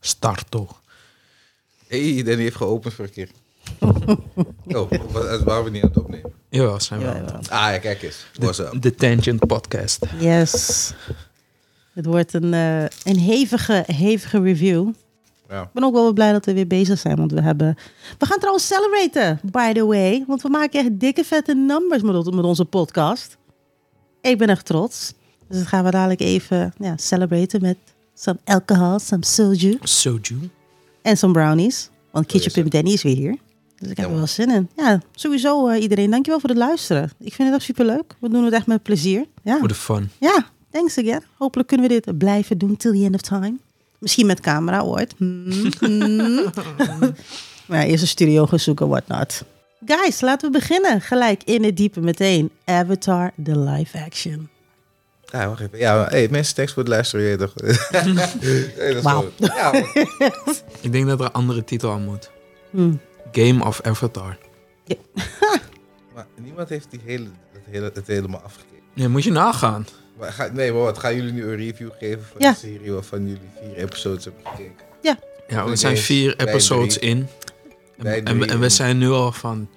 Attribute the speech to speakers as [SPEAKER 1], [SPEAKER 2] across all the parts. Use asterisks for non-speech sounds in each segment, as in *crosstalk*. [SPEAKER 1] Start toch.
[SPEAKER 2] hey, Danny heeft geopend voor een
[SPEAKER 1] *laughs*
[SPEAKER 2] keer. oh, wa- waren we niet aan het opnemen?
[SPEAKER 1] Jawel, zijn we.
[SPEAKER 3] Jawel, jawel.
[SPEAKER 2] Ah, ja, kijk eens. What's up?
[SPEAKER 1] De Tangent Podcast.
[SPEAKER 3] Yes. Het wordt een, eh, een hevige, hevige review.
[SPEAKER 2] Ja.
[SPEAKER 3] Ik ben ook wel blij dat we weer bezig zijn, want we hebben... We gaan trouwens celebraten, by the way. Want we maken echt dikke vette numbers met, on- met onze podcast. Ik ben echt trots. Dus dat gaan we dadelijk even ja, celebraten met some alcohol, some soju
[SPEAKER 1] Soju.
[SPEAKER 3] en some brownies. Want Kitchen
[SPEAKER 2] is het.
[SPEAKER 3] Pimp Danny is weer hier. Dus ik heb er
[SPEAKER 2] man.
[SPEAKER 3] wel zin in. Ja, sowieso eh, iedereen, dankjewel voor het luisteren. Ik vind het echt superleuk. We doen het echt met plezier. Ja.
[SPEAKER 1] Voor de fun.
[SPEAKER 3] Ja, thanks again. Hopelijk kunnen we dit blijven doen till the end of time. Misschien met camera ooit. Hmm, hmm. *laughs* maar ja, eerst een studio gaan zoeken, whatnot. Guys, laten we beginnen. Gelijk in het diepe meteen. Avatar, de live action.
[SPEAKER 1] Ah,
[SPEAKER 2] Ja, wacht even. Ja, maar, hey, mensen, tekst voor het luisteren, je weet
[SPEAKER 1] *laughs*
[SPEAKER 2] toch? hey, dat is
[SPEAKER 3] Wauw.
[SPEAKER 2] wel- Ja, man.
[SPEAKER 1] Ik denk dat er een andere titel aan moet.
[SPEAKER 3] Hmm.
[SPEAKER 1] Game of Avatar.
[SPEAKER 2] maar niemand heeft die hele, het, hele, het helemaal afgekeken.
[SPEAKER 1] Nee, moet je nagaan.
[SPEAKER 2] Maar ga, nee, maar wat? Gaan jullie nu een review geven van
[SPEAKER 3] Ja.
[SPEAKER 2] de serie waarvan jullie vier episodes hebben gekeken?
[SPEAKER 1] Ja, we
[SPEAKER 2] Oké, dus
[SPEAKER 1] zijn vier
[SPEAKER 2] wij
[SPEAKER 1] episodes
[SPEAKER 2] drie.
[SPEAKER 1] in.
[SPEAKER 2] Wij
[SPEAKER 1] En, en, we-
[SPEAKER 2] drie.
[SPEAKER 1] en we zijn nu al van...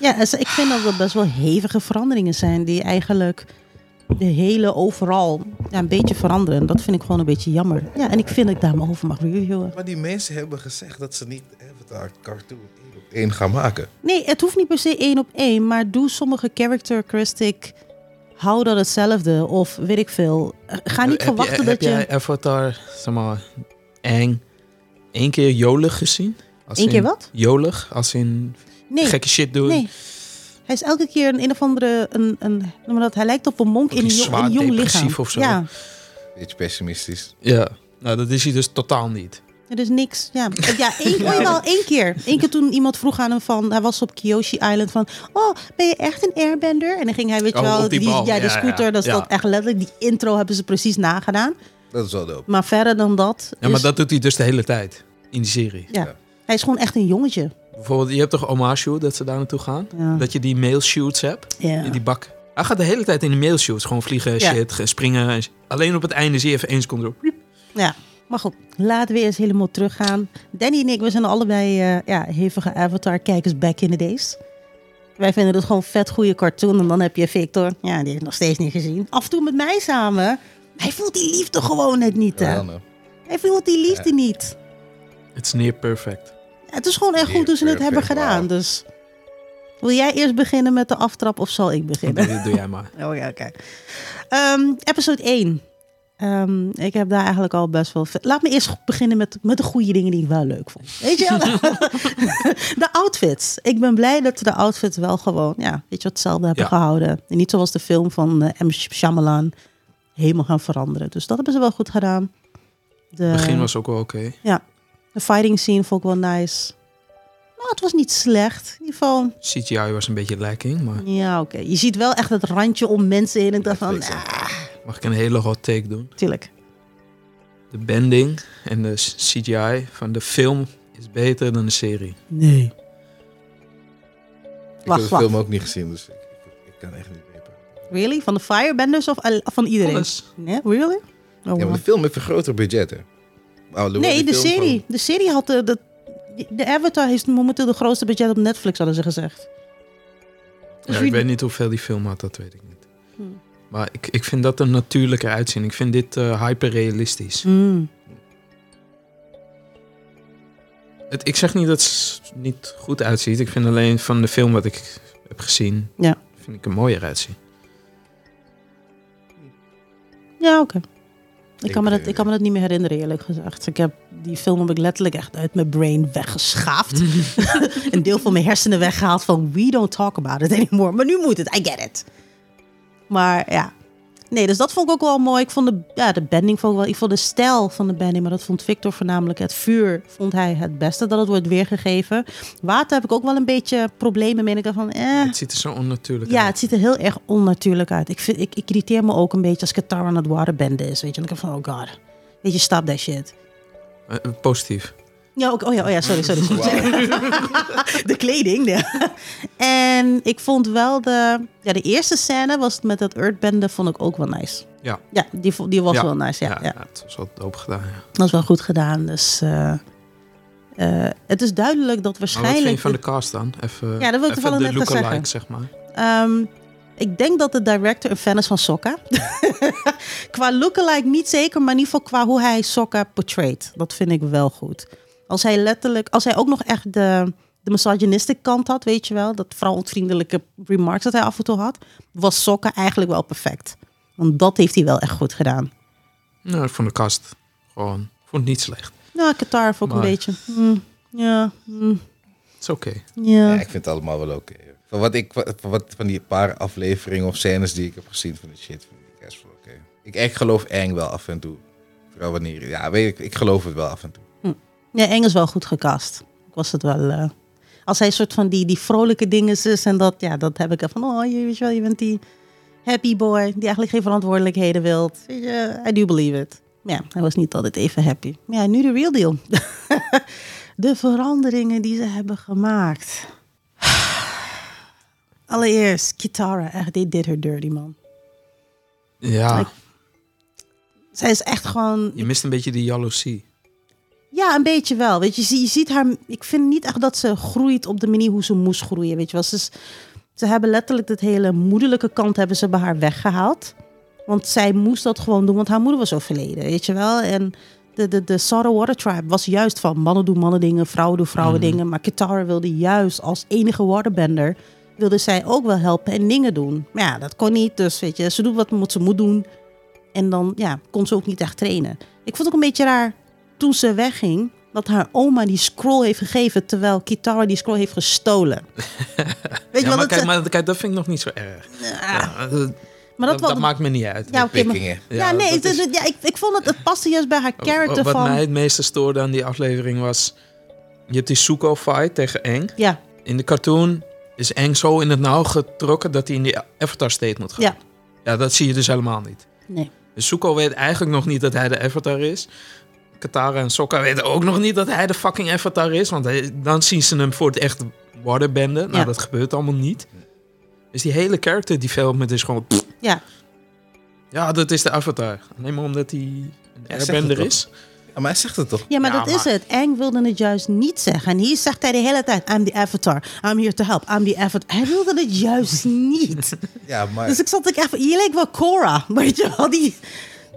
[SPEAKER 3] Ja, dus ik vind dat er best wel hevige veranderingen zijn die eigenlijk de hele overal ja, een beetje veranderen. Dat vind ik gewoon een beetje jammer. Ja, en ik vind dat ik daar mijn over mag reviewen.
[SPEAKER 2] Maar die mensen hebben gezegd dat ze niet Avatar cartoon één op één gaan maken.
[SPEAKER 3] Nee, het hoeft niet per se één op één, maar doe sommige characteristic. Hou dat hetzelfde of weet ik veel. Eh, Ga niet
[SPEAKER 1] Heb je-
[SPEAKER 3] verwachten dat je.
[SPEAKER 1] Heb jij Avatar, zeg maar, eng... één keer jolig gezien? Als
[SPEAKER 3] Eén keer
[SPEAKER 1] in-
[SPEAKER 3] wat?
[SPEAKER 1] Jolig, als in
[SPEAKER 3] nee,
[SPEAKER 1] gekke shit doen.
[SPEAKER 3] nee. Hij is elke keer een, een of andere. Een, een, noem maar dat, hij lijkt op een monk
[SPEAKER 1] Ook
[SPEAKER 3] in een,
[SPEAKER 1] iets
[SPEAKER 3] jong-
[SPEAKER 1] zwaar
[SPEAKER 3] een jong
[SPEAKER 1] depressief
[SPEAKER 3] lichaam.
[SPEAKER 1] of zo.
[SPEAKER 3] Ja,
[SPEAKER 2] Beetje pessimistisch.
[SPEAKER 1] Ja, nou dat is hij dus totaal niet.
[SPEAKER 3] er is niks. Ja, ja één, oh, jawel, één keer. Eén keer toen iemand vroeg aan hem van. Hij was op Kyoshi Island van. Oh, ben je echt een airbender? En dan ging hij, weet je
[SPEAKER 1] Oh,
[SPEAKER 3] wel,
[SPEAKER 1] op die bal.
[SPEAKER 3] ja, de
[SPEAKER 1] Ja, ja,
[SPEAKER 3] scooter. Dat is
[SPEAKER 1] ja.
[SPEAKER 3] dat echt letterlijk. Die intro hebben ze precies nagedaan.
[SPEAKER 2] Dat is wel dope.
[SPEAKER 3] Maar verder dan dat.
[SPEAKER 1] Ja, maar
[SPEAKER 3] is-
[SPEAKER 1] dat doet hij dus de hele tijd in die serie.
[SPEAKER 3] Ja.
[SPEAKER 2] Ja.
[SPEAKER 3] Hij is gewoon echt een jongetje.
[SPEAKER 1] Bijvoorbeeld, je hebt toch Omashu, dat ze daar naartoe gaan?
[SPEAKER 3] Ja.
[SPEAKER 1] Dat je die mailshoots hebt,
[SPEAKER 3] Ja.
[SPEAKER 1] in die bak. Hij gaat de hele tijd in die mailshoots, gewoon vliegen,
[SPEAKER 3] Ja.
[SPEAKER 1] shit, ge- springen. en sh- Alleen op het einde zie je even één seconde op.
[SPEAKER 3] ja. Maar goed, laten we eens helemaal teruggaan. Danny en ik, we zijn allebei eh, ja, hevige Avatar-kijkers back in the days. Wij vinden het gewoon vet goede cartoon. En dan heb je Victor. Ja, die heeft het nog steeds niet gezien. Af en toe met mij samen. Hij voelt die liefde gewoon net niet. hè.
[SPEAKER 2] Wel, nou.
[SPEAKER 3] Hij voelt die liefde niet.
[SPEAKER 1] Het is near perfect.
[SPEAKER 3] Het is gewoon echt
[SPEAKER 2] Hier,
[SPEAKER 3] goed hoe ze het
[SPEAKER 2] perfect,
[SPEAKER 3] hebben gedaan.
[SPEAKER 2] wauw.
[SPEAKER 3] Dus wil jij eerst beginnen met de aftrap of zal ik beginnen?
[SPEAKER 1] Dat doe jij maar.
[SPEAKER 3] Oh ja, oké. Ehm, episode 1. Ehm, ik heb daar eigenlijk al best wel... ve- Laat me eerst beginnen met, met de goede dingen die ik wel leuk vond.
[SPEAKER 1] *laughs*
[SPEAKER 3] Weet je wel? de outfits. Ik ben blij dat ze de outfits wel gewoon... Ja, weet je, wat, hetzelfde hebben
[SPEAKER 1] Ja.
[SPEAKER 3] gehouden. En niet zoals de film van eh, M. Shyamalan. Helemaal gaan veranderen. Dus dat hebben ze wel goed gedaan. De, *laughs*
[SPEAKER 1] Het begin was ook wel oké.
[SPEAKER 3] de fighting scene vond ik wel nice. Maar het was niet slecht. In ieder geval...
[SPEAKER 1] CGI was een beetje lacking, maar
[SPEAKER 3] Ja, oké. Je ziet wel echt het randje om mensen heen. Ik dacht van...
[SPEAKER 2] Netflix, hè.
[SPEAKER 3] Ah,
[SPEAKER 1] mag ik een hele hot take doen?
[SPEAKER 3] tuurlijk.
[SPEAKER 1] De bending en de s- CGI van de film is beter dan de serie.
[SPEAKER 3] Nee.
[SPEAKER 2] Ik heb de
[SPEAKER 3] Wacht, wacht. Oh,
[SPEAKER 2] film ook niet gezien, dus ik, ik, ik kan echt niet meepakken.
[SPEAKER 3] Really? Van de Firebenders of al- van iedereen?
[SPEAKER 1] Alles.
[SPEAKER 3] Nee, really? Oh,
[SPEAKER 2] Ja, maar
[SPEAKER 3] wow.
[SPEAKER 2] de film heeft een groter budget, hè? Oh, Louis,
[SPEAKER 3] Nee,
[SPEAKER 2] die
[SPEAKER 3] de
[SPEAKER 2] film van-
[SPEAKER 3] serie. De serie had de, de, de Avatar heeft momenteel de grootste budget op Netflix, hadden ze gezegd. Dus
[SPEAKER 1] Ja,
[SPEAKER 3] wie-
[SPEAKER 1] ik weet niet hoeveel die film had, dat weet ik niet.
[SPEAKER 3] Hmm.
[SPEAKER 1] Maar ik, ik vind dat er natuurlijker uitzien. Ik vind dit eh, hyperrealistisch.
[SPEAKER 3] Mm.
[SPEAKER 1] Het, ik zeg niet dat het niet goed uitziet. Ik vind alleen van de film wat ik heb gezien,
[SPEAKER 3] Ja.
[SPEAKER 1] vind ik er mooier uitzien.
[SPEAKER 3] Ja, oké. Ik,
[SPEAKER 2] Ik,
[SPEAKER 3] kan me dat-
[SPEAKER 2] eh,
[SPEAKER 3] ik kan me dat niet meer herinneren, eerlijk gezegd. Ik heb, die film heb ik letterlijk echt uit mijn brain
[SPEAKER 2] *laughs*
[SPEAKER 3] weggeschaafd. *laughs* Een deel van mijn hersenen weggehaald van we don't talk about it anymore. Maar nu moet het, I get it. Maar ja. Nee, dus dat vond ik ook wel mooi. Ik vond de, ja, de bending vond ik wel. Ik vond de stijl van de bending, maar dat vond Victor voornamelijk. Het vuur vond hij het beste dat het wordt weergegeven. Water heb ik ook wel een beetje problemen mee. Ik dacht van, eh.
[SPEAKER 1] Het ziet er zo onnatuurlijk
[SPEAKER 3] Ja,
[SPEAKER 1] uit.
[SPEAKER 3] het ziet er heel erg onnatuurlijk uit. Ik, vind, ik, ik irriteer me ook een beetje als Katara aan het waterbenden is. Weet je, dan denk ik van, oh god. Weet je, stop that shit.
[SPEAKER 1] Eh, eh, positief.
[SPEAKER 3] Ja, ook, oh ja, oh ja, sorry, sorry. sorry. *laughs* de kleding, ja. En ik vond wel de... Ja, de eerste scène was met dat earthbenden, vond ik ook wel nice.
[SPEAKER 1] Ja.
[SPEAKER 3] Ja, die, vo- die was
[SPEAKER 1] Ja.
[SPEAKER 3] wel nice. ja. ja.
[SPEAKER 1] het was wel doop gedaan. Ja.
[SPEAKER 3] Dat is wel goed gedaan. Dus eh, eh, het is duidelijk dat
[SPEAKER 1] Maar wat vind
[SPEAKER 3] waarschijnlijk.
[SPEAKER 1] je van de cast dan? Even,
[SPEAKER 3] Ja, dat wil ik
[SPEAKER 1] even
[SPEAKER 3] toevallig
[SPEAKER 1] de
[SPEAKER 3] net gaan zeggen.
[SPEAKER 1] lookalike, zeg maar.
[SPEAKER 3] Ehm, ik denk dat de director een fan is van Sokka. *laughs* qua lookalike niet zeker, maar in ieder geval qua hoe hij Sokka portrayt. Dat vind ik wel goed. Als hij letterlijk, als hij ook nog echt de, de misogynistische kant had, weet je wel, dat vooral onvriendelijke remarks dat hij af en toe had, was Sokka eigenlijk wel perfect. Want dat heeft hij wel echt goed gedaan.
[SPEAKER 1] Nou, ik vond de cast gewoon... Ik vond het niet slecht.
[SPEAKER 3] Nou, Qatar ook
[SPEAKER 1] Maar-
[SPEAKER 3] een beetje. Mm, ja, mm,
[SPEAKER 1] Het is oké.
[SPEAKER 3] ja.
[SPEAKER 2] Ja, ik vind het allemaal wel oké. Van wat ik van, wat, van die paar afleveringen of scènes die ik heb gezien van de shit, vind ik best wel oké. Ik, ik geloof Eng wel af en toe. Vooral wanneer, ja, weet ik, ik geloof het wel af en toe.
[SPEAKER 3] Ja, Eng is wel goed gecast. Ik was het wel. eh, als hij een soort van die, die vrolijke dingen is en dat, ja, dat heb ik er van. Oh, je, weet je wel, je bent die happy boy die eigenlijk geen verantwoordelijkheden wilt. Weet je, I do believe it. Maar Ja, hij was niet altijd even happy. Maar Ja, nu de real deal. *laughs* de veranderingen die ze hebben gemaakt. *sighs* Allereerst, Kitara, echt, they did her dirty, man.
[SPEAKER 1] Ja,
[SPEAKER 3] Zij is echt gewoon...
[SPEAKER 1] je mist een beetje die jaloezie.
[SPEAKER 3] Ja, een beetje wel. Weet je, je, zie- je ziet haar. Ik vind niet echt dat ze groeit op de manier hoe ze moest groeien. Weet je wel. Ze, is- ze hebben letterlijk dat hele moederlijke kant hebben ze bij haar weggehaald. Want zij moest dat gewoon doen, want haar moeder was overleden. Weet je wel. En de, de, de Sorrow Water Tribe was juist van mannen doen mannen dingen, vrouwen doen vrouwen
[SPEAKER 1] Mhm.
[SPEAKER 3] dingen. Maar Kitara wilde juist als enige waterbender. wilde zij ook wel helpen en dingen doen. Maar ja, dat kon niet. Dus weet je, ze doet wat ze moet doen. En dan ja, kon ze ook niet echt trainen. Ik vond het ook een beetje raar toen ze wegging dat haar oma die scroll heeft gegeven terwijl Kitara die scroll heeft
[SPEAKER 1] *laughs*
[SPEAKER 3] gestolen. Weet
[SPEAKER 1] Ja,
[SPEAKER 3] je wel,
[SPEAKER 1] maar,
[SPEAKER 3] dat
[SPEAKER 1] kijk,
[SPEAKER 3] ze- Ah,
[SPEAKER 1] maar kijk, dat vind ik nog niet zo erg. Ja, dat, dat,
[SPEAKER 3] maar dat, wel-
[SPEAKER 1] dat maakt me niet uit.
[SPEAKER 3] ja, oké, maar-
[SPEAKER 2] Pikkingen.
[SPEAKER 3] ja, nee, dus
[SPEAKER 1] dat
[SPEAKER 3] het is-
[SPEAKER 1] is- Oh,
[SPEAKER 3] ja, ik, ik vond het, het paste juist bij haar character
[SPEAKER 1] Wat
[SPEAKER 3] van...
[SPEAKER 1] mij het meeste stoorde aan die aflevering was... Je hebt die Zuko-fight tegen Eng.
[SPEAKER 3] Ja,
[SPEAKER 1] In de cartoon is Eng zo in het nauw getrokken... dat hij in die Avatar-state moet gaan.
[SPEAKER 3] ja,
[SPEAKER 1] ja, dat zie je dus helemaal niet.
[SPEAKER 3] nee.
[SPEAKER 1] Dus Zuko weet eigenlijk nog niet dat hij de Avatar is. Katara en Sokka weten ook nog niet dat hij de fucking Avatar is. Want hij- dan zien ze hem voor het echt waterbenden. Nou,
[SPEAKER 3] Ja.
[SPEAKER 1] dat gebeurt allemaal niet. Dus die hele character development is gewoon... pff,
[SPEAKER 3] Ja,
[SPEAKER 1] ja, dat is de Avatar. Alleen maar omdat hij een
[SPEAKER 2] Ja, zegt het
[SPEAKER 1] airbender
[SPEAKER 2] toch?
[SPEAKER 1] is.
[SPEAKER 2] Ja, maar hij zegt het toch?
[SPEAKER 3] ja maar
[SPEAKER 1] Ja,
[SPEAKER 3] dat is
[SPEAKER 1] maar-
[SPEAKER 3] het. Aang wilde het juist niet zeggen. En hier zegt hij de hele tijd, I'm the avatar. I'm here to help. I'm the avatar. Hij wilde het
[SPEAKER 1] *laughs*
[SPEAKER 3] juist niet.
[SPEAKER 2] Ja, maar
[SPEAKER 3] Dus ik zat ik even... Je leek wel Cora, weet je wel. Die,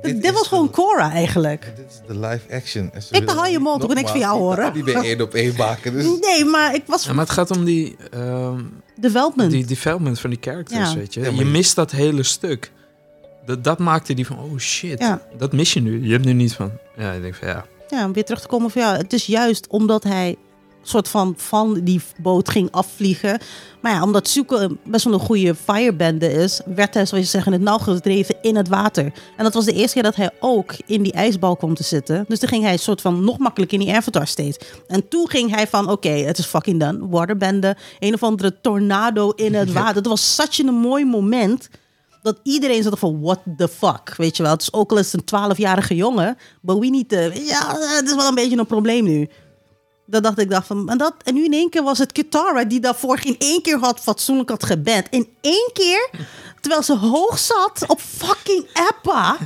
[SPEAKER 3] dit,
[SPEAKER 2] is
[SPEAKER 3] was gewoon Cora eigenlijk.
[SPEAKER 2] dit is de live action. En ze
[SPEAKER 3] Ik
[SPEAKER 2] willen
[SPEAKER 3] hou je
[SPEAKER 2] niet
[SPEAKER 3] mond, ik wil niks van jou
[SPEAKER 2] nogmaals
[SPEAKER 3] horen.
[SPEAKER 2] Die ben één op één maken.
[SPEAKER 3] *laughs*
[SPEAKER 2] Dus
[SPEAKER 3] Nee, maar ik was...
[SPEAKER 1] Ja, maar het gaat om die, ehm,
[SPEAKER 3] Development.
[SPEAKER 1] die development van die characters,
[SPEAKER 3] Ja.
[SPEAKER 1] weet je.
[SPEAKER 2] Ja, maar
[SPEAKER 1] je
[SPEAKER 2] je-
[SPEAKER 1] mist dat hele stuk. Dat, dat maakte die van, oh shit,
[SPEAKER 3] Ja.
[SPEAKER 1] dat mis je nu. Je hebt nu niet van... Ja, ik denk van ja,
[SPEAKER 3] Ja, om weer terug te komen van ja, het is juist omdat hij soort van van die boot ging afvliegen. Maar ja, omdat Zuko een- best wel een goede firebende is, werd hij, zoals je zegt, in het nauw gedreven in het water. En dat was de eerste keer dat hij ook in die ijsbal kwam te zitten. Dus toen ging hij een soort van nog makkelijk in die avatar steeds. En toen ging hij van, oké, het is fucking done. Waterbende, een of andere tornado in het water. Dat was such een mooi moment dat iedereen zat van what the fuck, weet je wel. Het is ook al eens een 12-jarige jongen, but we niet eh, ja, het is wel een beetje een probleem nu. Dat dacht ik dacht van en dat en nu in één keer was het Kitara die daarvoor in één keer had fatsoenlijk had gebed. In één keer terwijl ze hoog zat op fucking Appa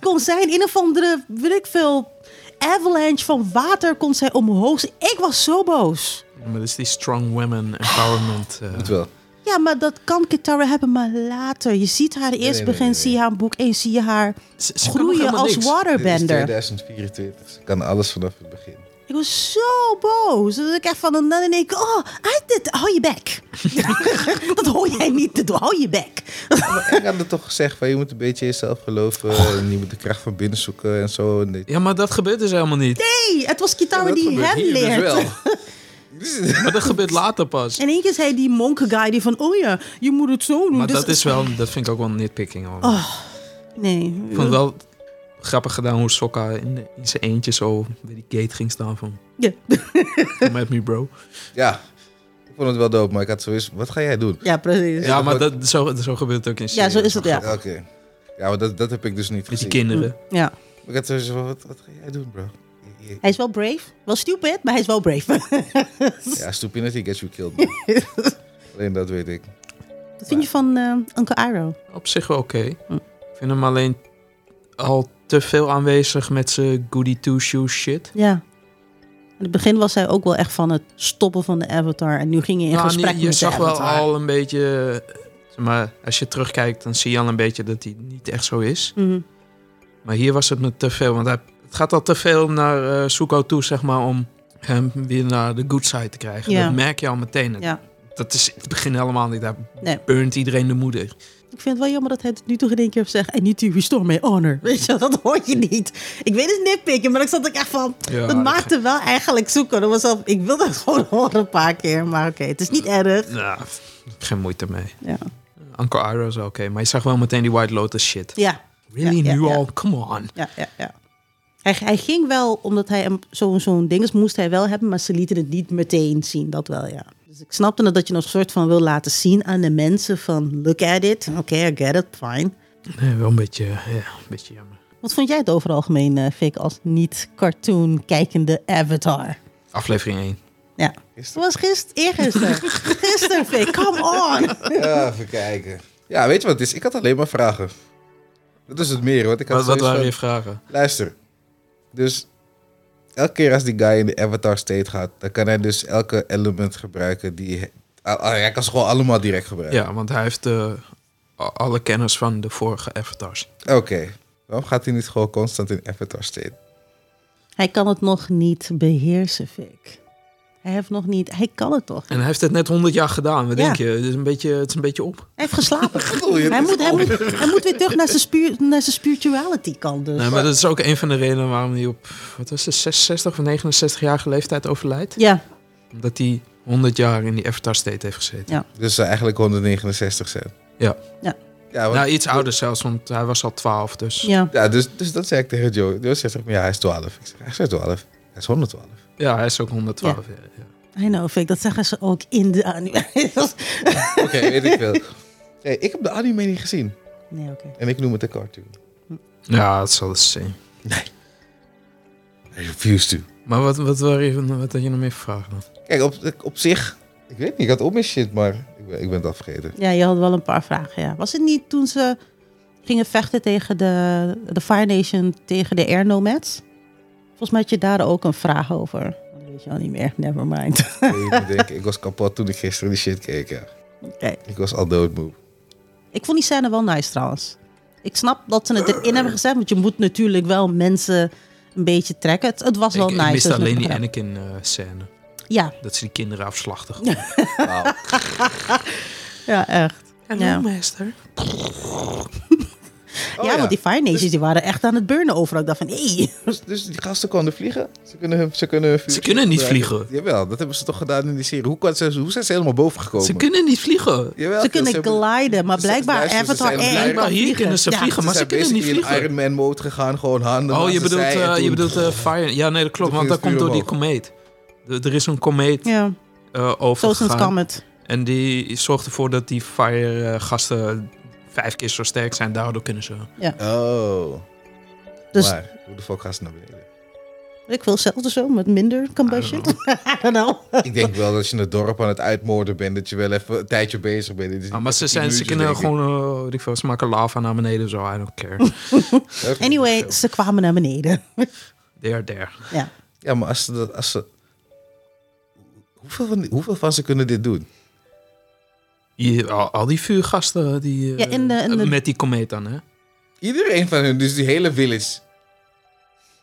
[SPEAKER 3] kon zij in een of andere weet ik veel avalanche van water kon zij omhoog. Ik was zo boos.
[SPEAKER 1] Ja, maar dat is die strong women empowerment. eh.
[SPEAKER 2] moet wel.
[SPEAKER 3] Ja, maar dat kan Kitara hebben, maar later. Je ziet haar eerst
[SPEAKER 2] nee, nee,
[SPEAKER 3] begin,
[SPEAKER 2] nee.
[SPEAKER 3] zie je haar boek 1, zie je haar
[SPEAKER 1] Ze- ze kan nog
[SPEAKER 3] groeien
[SPEAKER 1] helemaal
[SPEAKER 3] als
[SPEAKER 1] niks.
[SPEAKER 2] Dit is
[SPEAKER 3] waterbender.
[SPEAKER 2] 2024. Ze kan alles vanaf het begin.
[SPEAKER 3] Ik was zo boos. Dat ik echt van en dan denk ik, oh, I did, hou je *laughs* bek. dat hoor jij niet te doen, hou je bek.
[SPEAKER 2] Maar *laughs* ik had het toch gezegd van je moet een beetje in jezelf geloven. En je moet de kracht van binnen zoeken en zo. En dit.
[SPEAKER 1] Ja, maar dat gebeurt dus helemaal niet.
[SPEAKER 3] Hey, het was Kitara
[SPEAKER 2] Ja, dat
[SPEAKER 3] Nou, die
[SPEAKER 2] gebeurt
[SPEAKER 3] hem
[SPEAKER 2] hier dus
[SPEAKER 3] leert. *laughs*
[SPEAKER 2] wel.
[SPEAKER 1] Maar dat gebeurt later pas.
[SPEAKER 3] En één keer zei die monk guy die van, oh ja, je moet het Oh. zo doen.
[SPEAKER 1] Maar
[SPEAKER 3] Dus-
[SPEAKER 1] dat is wel, dat vind ik ook wel een nitpicking. Hoor.
[SPEAKER 3] Nee.
[SPEAKER 1] Ik vond het wel grappig gedaan hoe Sokka in, in zijn eentje zo bij die gate ging staan van,
[SPEAKER 3] Ja. *laughs*
[SPEAKER 1] come at me bro.
[SPEAKER 2] Ja, ik vond het wel dope, maar ik had zoiets. Wat ga jij doen?
[SPEAKER 3] ja, precies.
[SPEAKER 1] Ja, maar dat, zo, zo gebeurt het ook in
[SPEAKER 3] Ja, zo is het, ja.
[SPEAKER 2] Oké. Ja, maar dat, dat heb ik dus
[SPEAKER 1] Met
[SPEAKER 2] niet
[SPEAKER 1] die
[SPEAKER 2] gezien.
[SPEAKER 1] kinderen.
[SPEAKER 3] ja.
[SPEAKER 2] Ik had zoiets van, wat, wat ga jij doen, bro? Je- je-
[SPEAKER 3] Hij is wel brave. Wel stupid, maar hij is wel brave. *laughs*
[SPEAKER 2] Ja, stupidity gets you killed. man. Alleen dat weet ik.
[SPEAKER 3] Wat vind je van eh Uncle Iroh? Hm.
[SPEAKER 1] Op zich wel oké. Ik vind hem alleen al te veel aanwezig met zijn goody two-shoes shit.
[SPEAKER 3] Ja. In het begin was hij ook wel echt van het stoppen van de avatar. En nu ging hij in
[SPEAKER 1] Nou,
[SPEAKER 3] gesprek
[SPEAKER 1] je- je
[SPEAKER 3] met de
[SPEAKER 1] zag wel
[SPEAKER 3] avatar.
[SPEAKER 1] al een beetje... eh, zeg Maar als je terugkijkt, dan zie je al een beetje dat hij niet echt zo is.
[SPEAKER 3] Mhm.
[SPEAKER 1] Maar hier was het me te veel. Want hij- het gaat al te veel naar eh, Zuko toe, zeg maar, om hem weer naar de good side te krijgen.
[SPEAKER 3] Ja.
[SPEAKER 1] Dat merk je al meteen. Dat-
[SPEAKER 3] Ja.
[SPEAKER 1] Dat is in het begin helemaal niet. Daar
[SPEAKER 3] Nee.
[SPEAKER 1] burnt iedereen de moeder.
[SPEAKER 3] Ik vind het wel jammer dat hij het nu toch in één keer heeft gezegd. En niet u restore my honor. *laughs* Weet je, wel, dat hoor je niet. Ik weet het nitpikken, maar ik zat ook echt van...
[SPEAKER 1] Ja,
[SPEAKER 3] dat
[SPEAKER 1] dat
[SPEAKER 3] maakte wel eigenlijk zoeken. Dat was al, ik wilde het *laughs* gewoon horen een paar keer. Maar oké, het is niet erg.
[SPEAKER 1] Nou, pff, geen moeite mee.
[SPEAKER 3] Ja,
[SPEAKER 1] Uncle Iroh is wel oké. Maar je zag wel meteen die White Lotus shit.
[SPEAKER 3] ja,
[SPEAKER 1] Really?
[SPEAKER 3] Ja, ja,
[SPEAKER 1] nu
[SPEAKER 3] ja.
[SPEAKER 1] al? Come on.
[SPEAKER 3] ja, ja. ja. Hij, hij ging wel, omdat hij hem- zo'n zo'n ding is, moest hij wel hebben. Maar ze lieten het niet meteen zien, dat wel, ja. Dus ik snapte het dat je nog een soort van wil laten zien aan de mensen van... Look at it, oké, I get it, fine.
[SPEAKER 1] Nee, wel een beetje, ja, een beetje jammer.
[SPEAKER 3] Wat vond jij het over het algemeen, eh, Fik, als niet-cartoon-kijkende avatar?
[SPEAKER 1] Aflevering 1.
[SPEAKER 3] Ja. Het was gisteren, *laughs* eergisteren. gisteren, Fik, come on.
[SPEAKER 2] Ja, even kijken. Ja, weet je wat het is? Ik had alleen maar vragen. Dat is het meer, want ik had
[SPEAKER 1] Wat, wat
[SPEAKER 2] zoiets
[SPEAKER 1] waren
[SPEAKER 2] van-
[SPEAKER 1] je vragen?
[SPEAKER 2] Luister. Dus elke keer als die guy in de avatar state gaat, dan kan hij dus elke element gebruiken die... hij- Ah, ah, Hij kan ze gewoon allemaal direct gebruiken.
[SPEAKER 1] Ja, want hij heeft eh, a- alle kennis van de vorige avatars.
[SPEAKER 2] Oké. Waarom gaat hij niet gewoon constant in avatar state?
[SPEAKER 3] Hij kan het nog niet beheersen, Fik. Hij heeft nog niet, hij kan het toch.
[SPEAKER 1] En hij heeft het net 100 jaar gedaan. Wat
[SPEAKER 3] Ja.
[SPEAKER 1] denk je? Het is een beetje, het is een beetje op.
[SPEAKER 3] Hij heeft *laughs* geslapen.
[SPEAKER 2] bedoel je?
[SPEAKER 3] hij, moet, hij, moet, hij moet weer terug naar zijn, spu- naar zijn spirituality kant dus.
[SPEAKER 1] Nee, maar dat is ook een van de redenen waarom hij op wat was het, 66 of 69-jarige leeftijd overlijdt.
[SPEAKER 3] Ja,
[SPEAKER 1] Omdat hij 100 jaar in die Avatar State heeft gezeten.
[SPEAKER 2] Dus zou eigenlijk 169 zijn.
[SPEAKER 1] Ja.
[SPEAKER 3] Ja.
[SPEAKER 2] Ja, want-
[SPEAKER 1] Nou, iets ouder zelfs, want hij was al 12. Dus ja,
[SPEAKER 3] ja.
[SPEAKER 2] ja dus, dus dat zei ik tegen Joe. Joe zegt ook, ja, hij is 12. Ik zeg, hij is geen 12. Hij is 112.
[SPEAKER 1] hij is ook 112. Ja. Ja.
[SPEAKER 3] I know, Fik. Dat zeggen ze ook in de anime. *laughs*
[SPEAKER 2] Oké, weet ik veel. *laughs* Nee, ik heb de anime niet gezien.
[SPEAKER 3] nee, oké.
[SPEAKER 2] En ik noem het een cartoon.
[SPEAKER 1] Ja, dat zal het zijn.
[SPEAKER 2] I refuse to.
[SPEAKER 1] Maar wat, wat, wat, wat had je nog meer vragen? dan?
[SPEAKER 2] Kijk, op, op zich... Ik weet niet, ik had op mijn shit, maar ik ben, ik ben het
[SPEAKER 3] *laughs*
[SPEAKER 2] afgegeten.
[SPEAKER 3] Ja, je had wel een paar vragen, ja. Was het niet toen ze gingen vechten tegen de, de Fire Nation, tegen de Air Nomads? Volgens mij had je daar ook een vraag over. Dat weet je al niet meer. Never mind. *laughs*
[SPEAKER 2] Nee, ik moet denken, ik was kapot toen ik gisteren die shit keek, ja.
[SPEAKER 3] Oké.
[SPEAKER 2] Ik was al doodmoe.
[SPEAKER 3] Ik vond die scène wel nice trouwens. Ik snap dat ze het erin hebben gezet, want je moet natuurlijk wel mensen een beetje trekken. Het, het was wel
[SPEAKER 1] ik, ik
[SPEAKER 3] nice.
[SPEAKER 1] miste
[SPEAKER 3] dat ze het
[SPEAKER 1] alleen die
[SPEAKER 3] hebben
[SPEAKER 1] Anakin-scène.
[SPEAKER 3] gedaan. Ja,
[SPEAKER 1] dat ze die kinderen afslachtig.
[SPEAKER 2] Wauw.
[SPEAKER 3] ja, echt. Ja.
[SPEAKER 1] meester.
[SPEAKER 2] Oh,
[SPEAKER 3] ja, want die Fire Nations die waren echt aan het burnen overal. Ik dacht van, hé.
[SPEAKER 2] Dus, dus die gasten konden vliegen? Ze kunnen hun, ze kunnen hun vuur-
[SPEAKER 1] Ze kunnen niet
[SPEAKER 2] gebruiken.
[SPEAKER 1] vliegen.
[SPEAKER 2] Jawel, dat hebben ze toch gedaan in die serie. Hoe, kan ze, hoe zijn ze helemaal boven gekomen?
[SPEAKER 1] Ze kunnen niet vliegen.
[SPEAKER 2] Jawel,
[SPEAKER 3] ze kunnen
[SPEAKER 2] hebben-
[SPEAKER 3] gliden, maar
[SPEAKER 2] ze-
[SPEAKER 3] blijkbaar
[SPEAKER 2] luister, ze
[SPEAKER 3] Avatar
[SPEAKER 2] zijn
[SPEAKER 3] 1
[SPEAKER 2] blijkbaar-
[SPEAKER 3] kan
[SPEAKER 1] hier
[SPEAKER 3] vliegen.
[SPEAKER 1] kunnen ze
[SPEAKER 3] Ja.
[SPEAKER 1] vliegen, maar ze
[SPEAKER 2] zijn
[SPEAKER 1] kunnen niet
[SPEAKER 2] basically in
[SPEAKER 1] vliegen.
[SPEAKER 2] Iron Man mode gegaan, gewoon handen.
[SPEAKER 1] Oh,
[SPEAKER 2] naast
[SPEAKER 1] je
[SPEAKER 2] de
[SPEAKER 1] bedoelt,
[SPEAKER 2] zij en
[SPEAKER 1] eh, je
[SPEAKER 2] toen-
[SPEAKER 1] bedoelt eh, Fire. Ja, nee, dat klopt.
[SPEAKER 2] Toen
[SPEAKER 1] Want dat
[SPEAKER 2] ging
[SPEAKER 1] komt
[SPEAKER 2] het
[SPEAKER 1] door die
[SPEAKER 2] vuur
[SPEAKER 1] komeet. De- Er is een komeet
[SPEAKER 3] Ja,
[SPEAKER 1] eh
[SPEAKER 3] zo is
[SPEAKER 1] overgegaan.
[SPEAKER 3] het.
[SPEAKER 1] En die zorgt ervoor dat die Fire-gasten vijf keer zo sterk zijn. Daardoor kunnen ze...
[SPEAKER 2] Oh,
[SPEAKER 3] Dus
[SPEAKER 2] maar hoe de fuck gaan ze naar beneden?
[SPEAKER 3] ik wil zelfs zo, met minder combustion. *laughs* I don't know.
[SPEAKER 2] ik denk wel dat als je in het dorp aan het uitmoorden bent, dat je wel even een tijdje bezig bent. Dit is
[SPEAKER 1] Ah,
[SPEAKER 2] niet
[SPEAKER 1] maar ze,
[SPEAKER 2] even
[SPEAKER 1] zijn,
[SPEAKER 2] tien
[SPEAKER 1] ze
[SPEAKER 2] minuutjes,
[SPEAKER 1] kunnen
[SPEAKER 2] denk ik.
[SPEAKER 1] gewoon... eh, weet ik veel, ze maken lava naar beneden zo. I don't
[SPEAKER 3] *laughs*
[SPEAKER 1] care.
[SPEAKER 2] Dat-
[SPEAKER 3] Anyway, ze kwamen naar
[SPEAKER 1] *laughs*
[SPEAKER 3] beneden.
[SPEAKER 1] They are there.
[SPEAKER 3] Ja.
[SPEAKER 2] Ja, maar als ze... Dat, als ze hoeveel, van, die- hoeveel van ze kunnen dit doen?
[SPEAKER 1] Je- al, al die vuurgasten die, eh,
[SPEAKER 3] Ja, in de- in de-
[SPEAKER 1] met die komeet dan, hè?
[SPEAKER 2] Iedereen van hun, dus die hele village.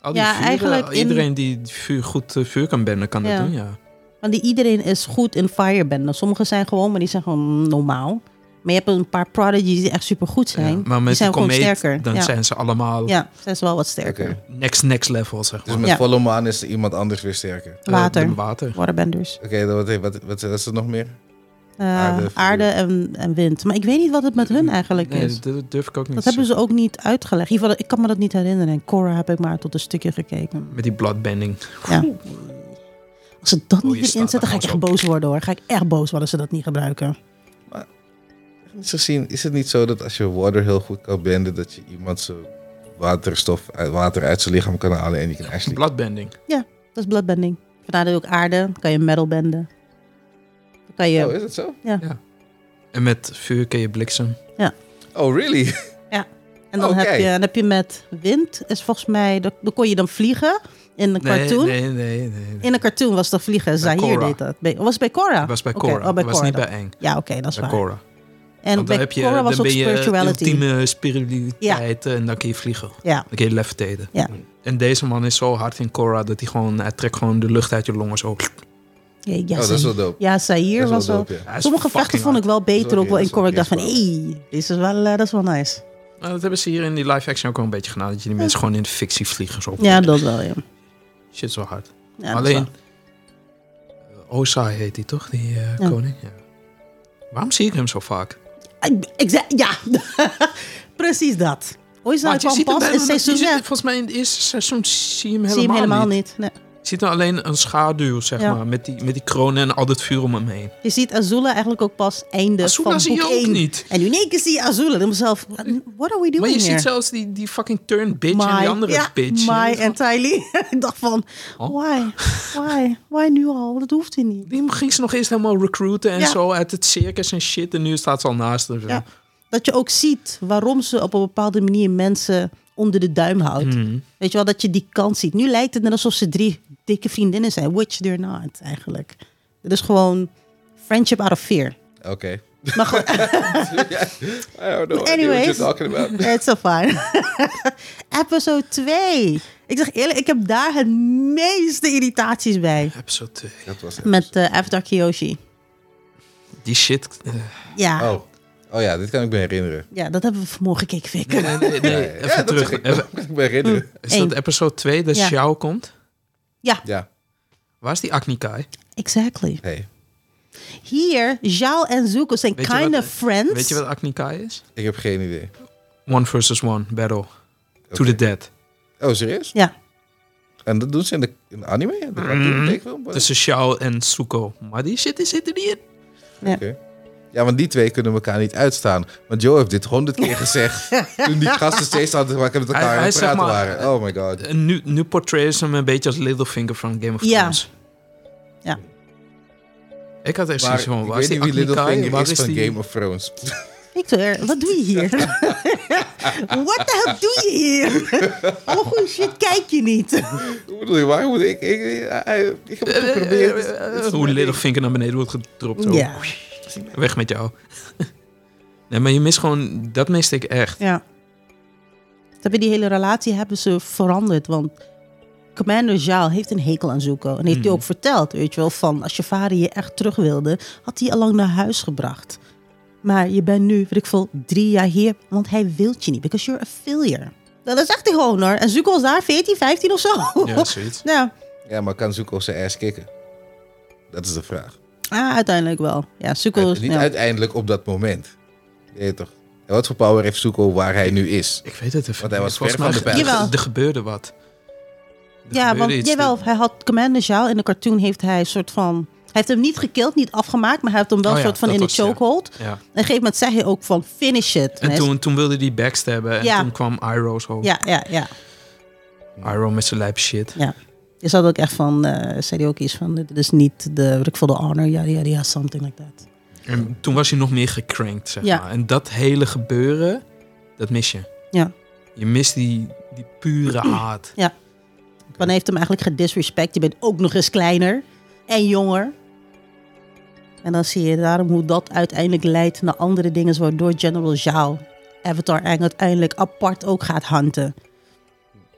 [SPEAKER 1] Al die
[SPEAKER 3] Ja,
[SPEAKER 1] vuren,
[SPEAKER 3] eigenlijk in-
[SPEAKER 1] iedereen die vuur, goed eh, vuur kan benden, kan
[SPEAKER 3] Ja.
[SPEAKER 1] dat doen, ja.
[SPEAKER 3] Want die iedereen is goed in firebenden. Sommigen zijn gewoon, maar die zijn gewoon normaal. Maar je hebt een paar prodigies die echt super goed zijn.
[SPEAKER 1] Ja, Maar
[SPEAKER 3] die
[SPEAKER 1] met
[SPEAKER 3] zijn
[SPEAKER 1] die
[SPEAKER 3] gewoon
[SPEAKER 1] komeet,
[SPEAKER 3] sterker.
[SPEAKER 1] dan
[SPEAKER 3] ja.
[SPEAKER 1] zijn ze allemaal
[SPEAKER 3] ja, zijn ze wel wat
[SPEAKER 2] Oké.
[SPEAKER 3] sterker.
[SPEAKER 1] next, next level, zeg
[SPEAKER 2] Dus
[SPEAKER 1] maar.
[SPEAKER 2] met
[SPEAKER 3] Ja.
[SPEAKER 2] volle maan is er iemand anders weer sterker.
[SPEAKER 1] Eh,
[SPEAKER 3] Water.
[SPEAKER 1] de water.
[SPEAKER 3] Waterbenders.
[SPEAKER 2] Oké, dan wat, wat, wat, wat is er nog meer?
[SPEAKER 3] Eh,
[SPEAKER 2] Aarde,
[SPEAKER 3] aarde
[SPEAKER 2] vuur.
[SPEAKER 3] en, en wind. Maar ik weet niet wat het met hun eigenlijk
[SPEAKER 1] Nee,
[SPEAKER 3] is.
[SPEAKER 1] dat dat durf ik ook niet
[SPEAKER 3] Dat
[SPEAKER 1] te
[SPEAKER 3] hebben
[SPEAKER 1] zeggen.
[SPEAKER 3] ze ook niet uitgelegd. In ieder geval, ik kan me dat niet herinneren. En Cora heb ik maar tot een stukje gekeken.
[SPEAKER 1] Met die bloodbending.
[SPEAKER 3] Ja. Als ze dat
[SPEAKER 1] Oh, je
[SPEAKER 3] niet
[SPEAKER 1] staat
[SPEAKER 3] erin zetten,
[SPEAKER 1] daar
[SPEAKER 3] ga ik echt
[SPEAKER 1] gewoon zo.
[SPEAKER 3] boos worden hoor. Ga ik echt boos worden als ze dat niet gebruiken.
[SPEAKER 2] Technisch gezien is het niet zo dat als je water heel goed kan benden, dat je iemand zo waterstof, uit- water uit zijn lichaam kan halen en die kan actually...
[SPEAKER 1] Bloodbending.
[SPEAKER 3] Dat is bloodbending. Vandaar dat ook aarde. Dan kan je metal benden. Dan kan je...
[SPEAKER 2] Oh, is dat zo?
[SPEAKER 1] En met vuur kun je bliksem.
[SPEAKER 2] Oh, really?
[SPEAKER 3] Ja. En dan,
[SPEAKER 2] Oh,
[SPEAKER 3] heb,
[SPEAKER 2] kijk.
[SPEAKER 3] je, dan heb je met wind, is volgens mij, dan, dan kon je dan vliegen in een
[SPEAKER 1] Nee,
[SPEAKER 3] cartoon.
[SPEAKER 1] nee, nee, nee. nee.
[SPEAKER 3] In een cartoon was dat vliegen. Zahir
[SPEAKER 1] Cora.
[SPEAKER 3] deed dat. Bij, was het bij Cora?
[SPEAKER 1] Het was bij
[SPEAKER 3] Oké,
[SPEAKER 1] Cora.
[SPEAKER 3] oh, bij
[SPEAKER 1] was
[SPEAKER 3] Cora
[SPEAKER 1] niet
[SPEAKER 3] dan.
[SPEAKER 1] bij Eng.
[SPEAKER 3] Ja, oké, dat is
[SPEAKER 1] Bij
[SPEAKER 3] waar.
[SPEAKER 1] Cora. Want
[SPEAKER 3] En
[SPEAKER 1] dan
[SPEAKER 3] bij
[SPEAKER 1] heb je,
[SPEAKER 3] Cora was
[SPEAKER 1] dan
[SPEAKER 3] ook
[SPEAKER 1] ben je
[SPEAKER 3] spirituality.
[SPEAKER 1] ultieme spiritualiteit eh, en dan kun je vliegen.
[SPEAKER 3] Ja,
[SPEAKER 1] Dan kun je levitaten.
[SPEAKER 3] Ja.
[SPEAKER 1] En deze man is zo hard in Cora dat hij gewoon, hij trekt gewoon de lucht uit je longen zo.
[SPEAKER 3] ja, ja,
[SPEAKER 2] Oh, dat is wel dope.
[SPEAKER 3] ja Zahir
[SPEAKER 2] Dat
[SPEAKER 3] was
[SPEAKER 2] is wel
[SPEAKER 3] wel...
[SPEAKER 2] dope, ja.
[SPEAKER 1] Hij is
[SPEAKER 3] Sommige vechten
[SPEAKER 1] fucking
[SPEAKER 3] vond ik wel beter
[SPEAKER 2] ook
[SPEAKER 3] ook wel in
[SPEAKER 2] eerst-
[SPEAKER 3] Cora. Ik dacht
[SPEAKER 2] eerst
[SPEAKER 3] van, hé, dit is wel, eh, dat is wel nice.
[SPEAKER 1] hard. Nou, dat hebben ze hier in die live action ook wel een beetje gedaan. Dat je die mensen gewoon in de fictie vliegen. Zo.
[SPEAKER 3] Ja, dat wel, ja.
[SPEAKER 1] Shit, zo hard.
[SPEAKER 3] Ja, dat
[SPEAKER 1] Alleen,
[SPEAKER 3] wel.
[SPEAKER 1] eh, Osai heet hij toch, die eh,
[SPEAKER 3] Ja.
[SPEAKER 1] koning? Ja. Waarom zie ik hem zo vaak?
[SPEAKER 3] Ik- ik zei- ja, *laughs* precies dat. Ooit zou
[SPEAKER 1] Want je
[SPEAKER 3] kwam
[SPEAKER 1] ziet hem
[SPEAKER 3] pas
[SPEAKER 1] bijna-
[SPEAKER 3] in seizoen
[SPEAKER 1] je ziet-
[SPEAKER 3] 6.
[SPEAKER 1] Volgens mij in het eerste seizoen zie je hem
[SPEAKER 3] Zie je hem
[SPEAKER 1] helemaal,
[SPEAKER 3] helemaal
[SPEAKER 1] niet.
[SPEAKER 3] niet. Nee.
[SPEAKER 1] Je ziet hem alleen een schaduw, zeg
[SPEAKER 3] Ja.
[SPEAKER 1] maar. Met die, met die kroon en al dat vuur om hem heen.
[SPEAKER 3] Je ziet Azula eigenlijk ook pas einde
[SPEAKER 1] Azula
[SPEAKER 3] van
[SPEAKER 1] zie
[SPEAKER 3] boek
[SPEAKER 1] je ook
[SPEAKER 3] 1.
[SPEAKER 1] niet.
[SPEAKER 3] En in één keer zie je Azula. Dan mezelf, what are we doing
[SPEAKER 1] Maar je
[SPEAKER 3] here?
[SPEAKER 1] ziet zelfs die, die fucking turn bitch en
[SPEAKER 3] Mai-
[SPEAKER 1] die andere
[SPEAKER 3] ja,
[SPEAKER 1] bitch.
[SPEAKER 3] Mai en Tylee. *laughs* ik dacht van,
[SPEAKER 1] Oh. *laughs*
[SPEAKER 3] why? Why? Why nu al? Dat hoeft hij niet.
[SPEAKER 1] Die ging ze nog eerst helemaal recruiten en
[SPEAKER 3] Ja.
[SPEAKER 1] zo uit het circus en shit. En nu staat ze al naast hem.
[SPEAKER 3] Ja. Dat je ook ziet waarom ze op een bepaalde manier mensen onder de duim houdt. Weet je wel, dat je die kant ziet. Nu lijkt het net alsof ze drie dikke vriendinnen zijn. Which they're not, eigenlijk. Het is gewoon friendship out of fear.
[SPEAKER 2] Oké.
[SPEAKER 3] Maar
[SPEAKER 2] *laughs*
[SPEAKER 3] goed,
[SPEAKER 2] I don't know what you're
[SPEAKER 3] Anyways.
[SPEAKER 2] talking about.
[SPEAKER 3] It's so fun. *laughs* Episode 2. Ik zeg eerlijk, ik heb daar het meeste irritaties bij.
[SPEAKER 1] Episode 2.
[SPEAKER 2] Dat
[SPEAKER 3] *laughs*
[SPEAKER 2] was het.
[SPEAKER 3] Met eh Avatar Kyoshi.
[SPEAKER 1] Die shit. eh,
[SPEAKER 3] Ja.
[SPEAKER 2] Oh. oh ja, dit kan ik me herinneren.
[SPEAKER 3] ja, dat hebben we vanmorgen gekeken, Fik.
[SPEAKER 1] nee, nee, nee,
[SPEAKER 2] Ja,
[SPEAKER 1] even
[SPEAKER 2] dat
[SPEAKER 1] terug.
[SPEAKER 2] zeg Ik,
[SPEAKER 1] Even-
[SPEAKER 2] dat kan ik me herinneren.
[SPEAKER 1] is dat
[SPEAKER 3] Eén.
[SPEAKER 1] episode 2 dat
[SPEAKER 3] Ja.
[SPEAKER 1] Xiao komt?
[SPEAKER 2] Ja.
[SPEAKER 1] Waar is die Aknikai?
[SPEAKER 3] Exactly.
[SPEAKER 2] Hey,
[SPEAKER 3] Hier, Zhao en Zuko zijn
[SPEAKER 1] Weet je
[SPEAKER 3] kind
[SPEAKER 1] wat-
[SPEAKER 3] of friends.
[SPEAKER 1] Weet je wat Aknikai is?
[SPEAKER 2] ik heb geen idee.
[SPEAKER 1] One versus one battle. To
[SPEAKER 2] Oké.
[SPEAKER 1] the dead.
[SPEAKER 2] Oh, serieus?
[SPEAKER 3] Ja,
[SPEAKER 2] En dat doen ze in de, in de anime? In de
[SPEAKER 1] Mm-hmm.
[SPEAKER 2] cartoontekenfilm?
[SPEAKER 1] Tussen Xiao en Suko. Maar die shit die zit er niet in.
[SPEAKER 2] Oké. Ja, want die twee kunnen elkaar niet uitstaan. Want Joe heeft dit honderd keer
[SPEAKER 1] *laughs*
[SPEAKER 2] gezegd. toen die gasten steeds aan het maken met elkaar
[SPEAKER 1] Hij-
[SPEAKER 2] aan
[SPEAKER 1] hij
[SPEAKER 2] het
[SPEAKER 1] is,
[SPEAKER 2] praten
[SPEAKER 1] zeg maar, Eh,
[SPEAKER 2] waren. Oh my god.
[SPEAKER 1] En nu, nu portrayen ze hem een beetje als Littlefinger van Game of
[SPEAKER 3] Ja.
[SPEAKER 1] Thrones.
[SPEAKER 3] Ja.
[SPEAKER 1] Ik had echt
[SPEAKER 2] Maar
[SPEAKER 1] zoiets van,
[SPEAKER 2] ik
[SPEAKER 1] waar is
[SPEAKER 2] weet
[SPEAKER 1] die
[SPEAKER 2] niet wie
[SPEAKER 1] Aknikai?
[SPEAKER 2] Littlefinger
[SPEAKER 1] Waar
[SPEAKER 2] is,
[SPEAKER 1] is
[SPEAKER 2] van
[SPEAKER 1] die...
[SPEAKER 2] Game of Thrones. *laughs*
[SPEAKER 3] Victor, wat doe je hier? What the hell doe je hier? Alle goede shit kijk je niet.
[SPEAKER 2] Hoe bedoel je, waarom moet ik... Ik, ik, ik heb
[SPEAKER 1] Eh,
[SPEAKER 2] het geprobeerd. Het is- het
[SPEAKER 1] Hoe
[SPEAKER 2] is mijn ding.
[SPEAKER 1] Littlefinger naar beneden wordt gedropt. ook.
[SPEAKER 3] Ja.
[SPEAKER 1] Weg met jou. *laughs* nee, maar je mist gewoon... Dat miste ik echt.
[SPEAKER 3] Ja. Ze hebben die hele relatie hebben ze veranderd. Want Commander Zhaal heeft een hekel aan Zuko. En heeft hij ook verteld, weet je wel, van als je vader je echt terug wilde, had hij je allang naar huis gebracht. Maar je bent nu, weet ik veel, drie jaar hier, want hij wil je niet. Because you're a failure. Nou, dat zegt hij gewoon hoor. En Zuko was daar 14, 15 of zo. *laughs*
[SPEAKER 1] Ja, zoiets.
[SPEAKER 3] Nou,
[SPEAKER 2] Ja, maar kan Zuko zijn ass kicken? Dat is de vraag.
[SPEAKER 3] ah, uiteindelijk wel. Ja, Zuko is...
[SPEAKER 2] Uit- niet
[SPEAKER 3] ja.
[SPEAKER 2] uiteindelijk op dat moment. Je weet toch. En wat voor power heeft Zuko waar hij nu is?
[SPEAKER 1] Ik weet het even.
[SPEAKER 2] Want hij was
[SPEAKER 1] niet. Volgens
[SPEAKER 2] ver van
[SPEAKER 1] mij ge-
[SPEAKER 2] de
[SPEAKER 3] pijl. Jawel.
[SPEAKER 1] Er gebeurde wat. Er
[SPEAKER 3] Ja,
[SPEAKER 1] gebeurde
[SPEAKER 3] want
[SPEAKER 1] iets.
[SPEAKER 3] jawel, hij had Commander Zhaal in de cartoon heeft hij een soort van... Hij heeft hem niet gekild, niet afgemaakt, maar hij heeft hem wel
[SPEAKER 1] Oh ja,
[SPEAKER 3] een soort van
[SPEAKER 1] dat
[SPEAKER 3] in de
[SPEAKER 1] was het, ja.
[SPEAKER 3] chokehold. En
[SPEAKER 1] Ja.
[SPEAKER 3] op een gegeven moment zei hij ook van finish it.
[SPEAKER 1] En
[SPEAKER 3] hij is-
[SPEAKER 1] toen, toen wilde hij backstabben. En
[SPEAKER 3] Ja.
[SPEAKER 1] toen kwam Iroh zo.
[SPEAKER 3] Ja, ja, ja,
[SPEAKER 1] Iroh met zijn lijp shit.
[SPEAKER 3] ja. Je zat ook echt van, eh zei hij ook iets van, dit is niet de, weet ik veel, de honor, ja, ja, ja, something like that.
[SPEAKER 1] En toen was hij nog meer gekrankt, zeg
[SPEAKER 3] Ja.
[SPEAKER 1] maar. En dat hele gebeuren, dat mis je.
[SPEAKER 3] Ja.
[SPEAKER 1] Je mist die, die pure haat.
[SPEAKER 3] Want hij heeft hem eigenlijk gedisrespect. Je bent ook nog eens kleiner en jonger. En dan zie je daarom hoe dat uiteindelijk leidt naar andere dingen, waardoor General Zhao Avatar Aang uiteindelijk apart ook gaat hunten.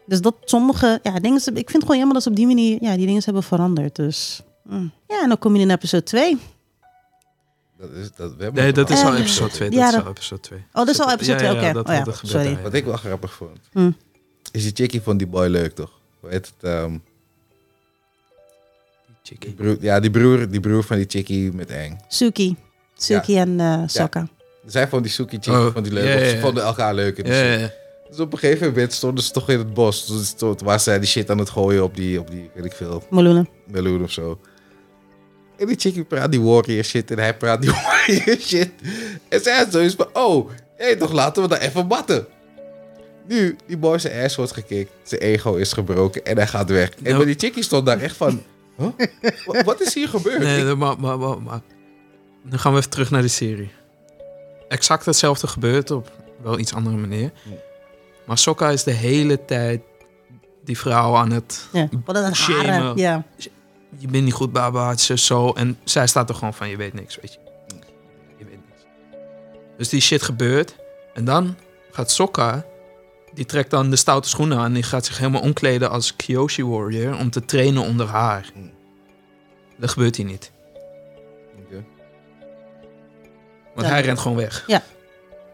[SPEAKER 3] Dus dat sommige ja, dingen, ze- ik vind het gewoon jammer dat ze op die manier ja, die dingen hebben veranderd. Dus, mm. Ja, en dan kom je in episode 2.
[SPEAKER 2] Dat is, dat, we hebben
[SPEAKER 1] Nee,
[SPEAKER 2] het
[SPEAKER 1] dat is
[SPEAKER 2] al.
[SPEAKER 1] al
[SPEAKER 3] Eh,
[SPEAKER 1] episode 2.
[SPEAKER 3] ja,
[SPEAKER 1] dat is
[SPEAKER 3] dat-
[SPEAKER 1] al episode 2.
[SPEAKER 3] Oh, dat is al episode 2,
[SPEAKER 1] Ja,
[SPEAKER 3] oké.
[SPEAKER 1] ja, dat-
[SPEAKER 3] oh ja,
[SPEAKER 1] dat gebeurt
[SPEAKER 3] sorry.
[SPEAKER 1] daar, ja.
[SPEAKER 2] Wat ik wel grappig vond,
[SPEAKER 3] Mm.
[SPEAKER 2] is die chickie van die boy leuk, toch? Hoe heet het? ehm, die
[SPEAKER 1] Chickie.
[SPEAKER 2] broer, ja, die broer, die broer van die chickie met eng.
[SPEAKER 3] Suki. Suki en eh Sokka.
[SPEAKER 2] Zij vond die Suki chickie
[SPEAKER 1] Oh,
[SPEAKER 2] vond die leuk.
[SPEAKER 1] ja,
[SPEAKER 2] of
[SPEAKER 1] ja,
[SPEAKER 2] Ze
[SPEAKER 1] ja.
[SPEAKER 2] vonden elkaar leuk. in die
[SPEAKER 1] Ja,
[SPEAKER 2] shit.
[SPEAKER 1] ja, ja.
[SPEAKER 2] Dus op een gegeven moment stonden ze toch in het bos. Dus stond, waar zij die shit aan het gooien op die, op die weet ik veel,
[SPEAKER 3] Meloenen.
[SPEAKER 2] meloen of zo. En die chickie praat die warrior shit en hij praat die *laughs* warrior shit. En zij had zoiets van, oh, hé, toch laten we dat even batten. Nu, die boy zijn ass wordt gekikt, zijn ego is gebroken en hij gaat weg. En
[SPEAKER 1] Nou.
[SPEAKER 2] maar die chickie stond daar echt van, huh? Wa- wat is hier gebeurd?
[SPEAKER 1] Nee,
[SPEAKER 2] Ik-
[SPEAKER 1] nee, maar, maar, maar, maar. Dan gaan we even terug naar de serie. Exact hetzelfde gebeurt op wel iets andere manier. Maar Sokka is de hele tijd die vrouw aan het...
[SPEAKER 3] Ja. Wat dat
[SPEAKER 1] Shamen.
[SPEAKER 3] haren. Ja.
[SPEAKER 1] Je bent niet goed, baba, het is zo. En zij staat er gewoon van, je weet niks, weet je. Je weet niks. Dus die shit gebeurt. En dan gaat Sokka... Die trekt dan de stoute schoenen aan. Die gaat zich helemaal omkleden als Kyoshi Warrior... om te trainen onder haar.
[SPEAKER 2] Hmm.
[SPEAKER 1] Dat gebeurt hier niet.
[SPEAKER 2] Oké.
[SPEAKER 1] Want
[SPEAKER 3] Ja.
[SPEAKER 1] hij rent gewoon weg.
[SPEAKER 3] Ja.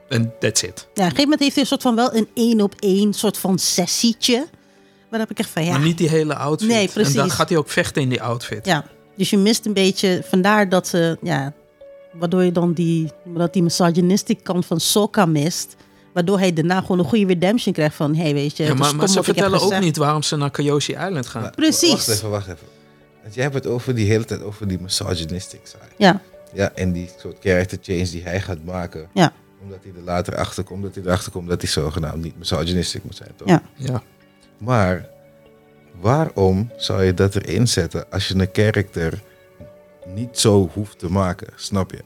[SPEAKER 1] En that's it.
[SPEAKER 3] Ja, op een gegeven moment heeft hij een soort van wel een één op één soort van sessietje. Maar dan heb ik echt van ja.
[SPEAKER 1] Maar niet die hele outfit.
[SPEAKER 3] Nee, precies.
[SPEAKER 1] En dan gaat hij ook vechten in die outfit.
[SPEAKER 3] ja. Dus je mist een beetje, vandaar dat ze, ja, waardoor je dan die, dat die misogynistic kant van Sokka mist. Waardoor hij daarna gewoon een goede redemption krijgt van, hé hey, weet je,
[SPEAKER 1] Ja,
[SPEAKER 3] het is
[SPEAKER 1] maar, maar
[SPEAKER 3] stom
[SPEAKER 1] ze
[SPEAKER 3] wat dus ik heb
[SPEAKER 1] vertellen ook
[SPEAKER 3] gezegd.
[SPEAKER 1] niet waarom ze naar Kyoshi Island gaan.
[SPEAKER 2] Maar-
[SPEAKER 3] Precies.
[SPEAKER 2] Wacht even, wacht even. Want jij hebt het over die hele tijd over die misogynistic side.
[SPEAKER 3] Ja,
[SPEAKER 2] Ja, en die soort character change die hij gaat maken.
[SPEAKER 3] Ja.
[SPEAKER 2] Omdat hij er later achter komt, dat hij erachter komt dat hij zogenaamd niet misogynistic moet zijn, toch?
[SPEAKER 3] Ja.
[SPEAKER 1] Ja.
[SPEAKER 2] Maar waarom zou je dat erin zetten als je een karakter niet zo hoeft te maken? Snap je?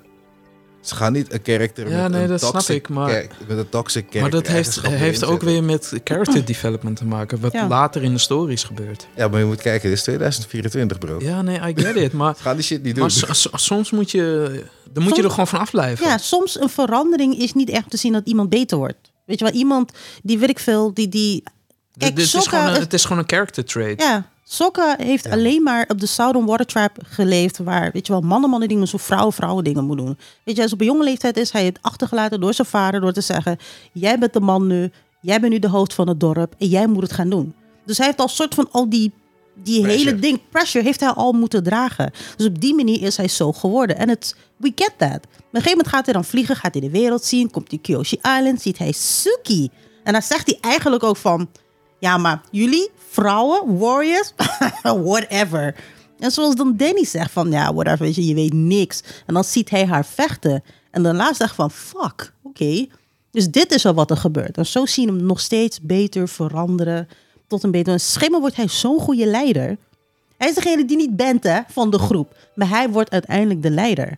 [SPEAKER 2] Ze gaan niet een karakter
[SPEAKER 1] Ja,
[SPEAKER 2] met,
[SPEAKER 1] nee,
[SPEAKER 2] een
[SPEAKER 1] dat snap
[SPEAKER 2] toxic
[SPEAKER 1] ik, maar-
[SPEAKER 2] char- met een toxic
[SPEAKER 1] Maar
[SPEAKER 2] character
[SPEAKER 1] dat heeft,
[SPEAKER 2] eigenschap erin
[SPEAKER 1] heeft ook
[SPEAKER 2] zetten.
[SPEAKER 1] weer met character development te maken. Wat
[SPEAKER 3] Oh. Ja.
[SPEAKER 1] later in de stories gebeurt.
[SPEAKER 2] Ja, maar je moet kijken, dit is 2024, bro.
[SPEAKER 1] Ja, nee, I get it. *laughs* Maar,
[SPEAKER 2] Ga die shit niet doen.
[SPEAKER 1] maar so- so- soms moet je, dan moet je
[SPEAKER 3] Soms-
[SPEAKER 1] er gewoon van afblijven.
[SPEAKER 3] ja, soms een verandering is niet echt te zien dat iemand beter wordt. Weet je wel, iemand die weet ik veel, die, die
[SPEAKER 1] D-
[SPEAKER 3] Kijk,
[SPEAKER 1] dit is
[SPEAKER 3] Sokka
[SPEAKER 1] gewoon een-
[SPEAKER 3] is-
[SPEAKER 1] het is gewoon een character trait.
[SPEAKER 3] Ja, Sokka heeft alleen maar op de Southern Water Tribe geleefd. Waar, weet je wel, mannen mannen dingen, zo vrouwen vrouwen dingen moet doen. Weet je, als op een jonge leeftijd is hij het achtergelaten door zijn vader. Door te zeggen, jij bent de man nu. Jij bent nu de hoofd van het dorp. En jij moet het gaan doen. Dus hij heeft al soort van al die, die
[SPEAKER 2] Pressure.
[SPEAKER 3] hele ding, pressure, heeft hij al moeten dragen. Dus op die manier is hij zo geworden. En het, we get that. Op een gegeven moment gaat hij dan vliegen, gaat hij de wereld zien. Komt hij Kyoshi Island, ziet hij Suki. En dan zegt hij eigenlijk ook van... Ja, maar jullie, vrouwen, warriors, *laughs* whatever. En zoals dan Danny zegt van, ja, whatever, weet je, je weet niks. En dan ziet hij haar vechten. En daarna zegt van, fuck, oké. Dus dit is al wat er gebeurt. En zo zien we hem nog steeds beter veranderen. Tot een beter... En schimmer wordt hij zo'n goede leider. Hij is degene die niet bent hè, van de groep. Maar hij wordt uiteindelijk de leider.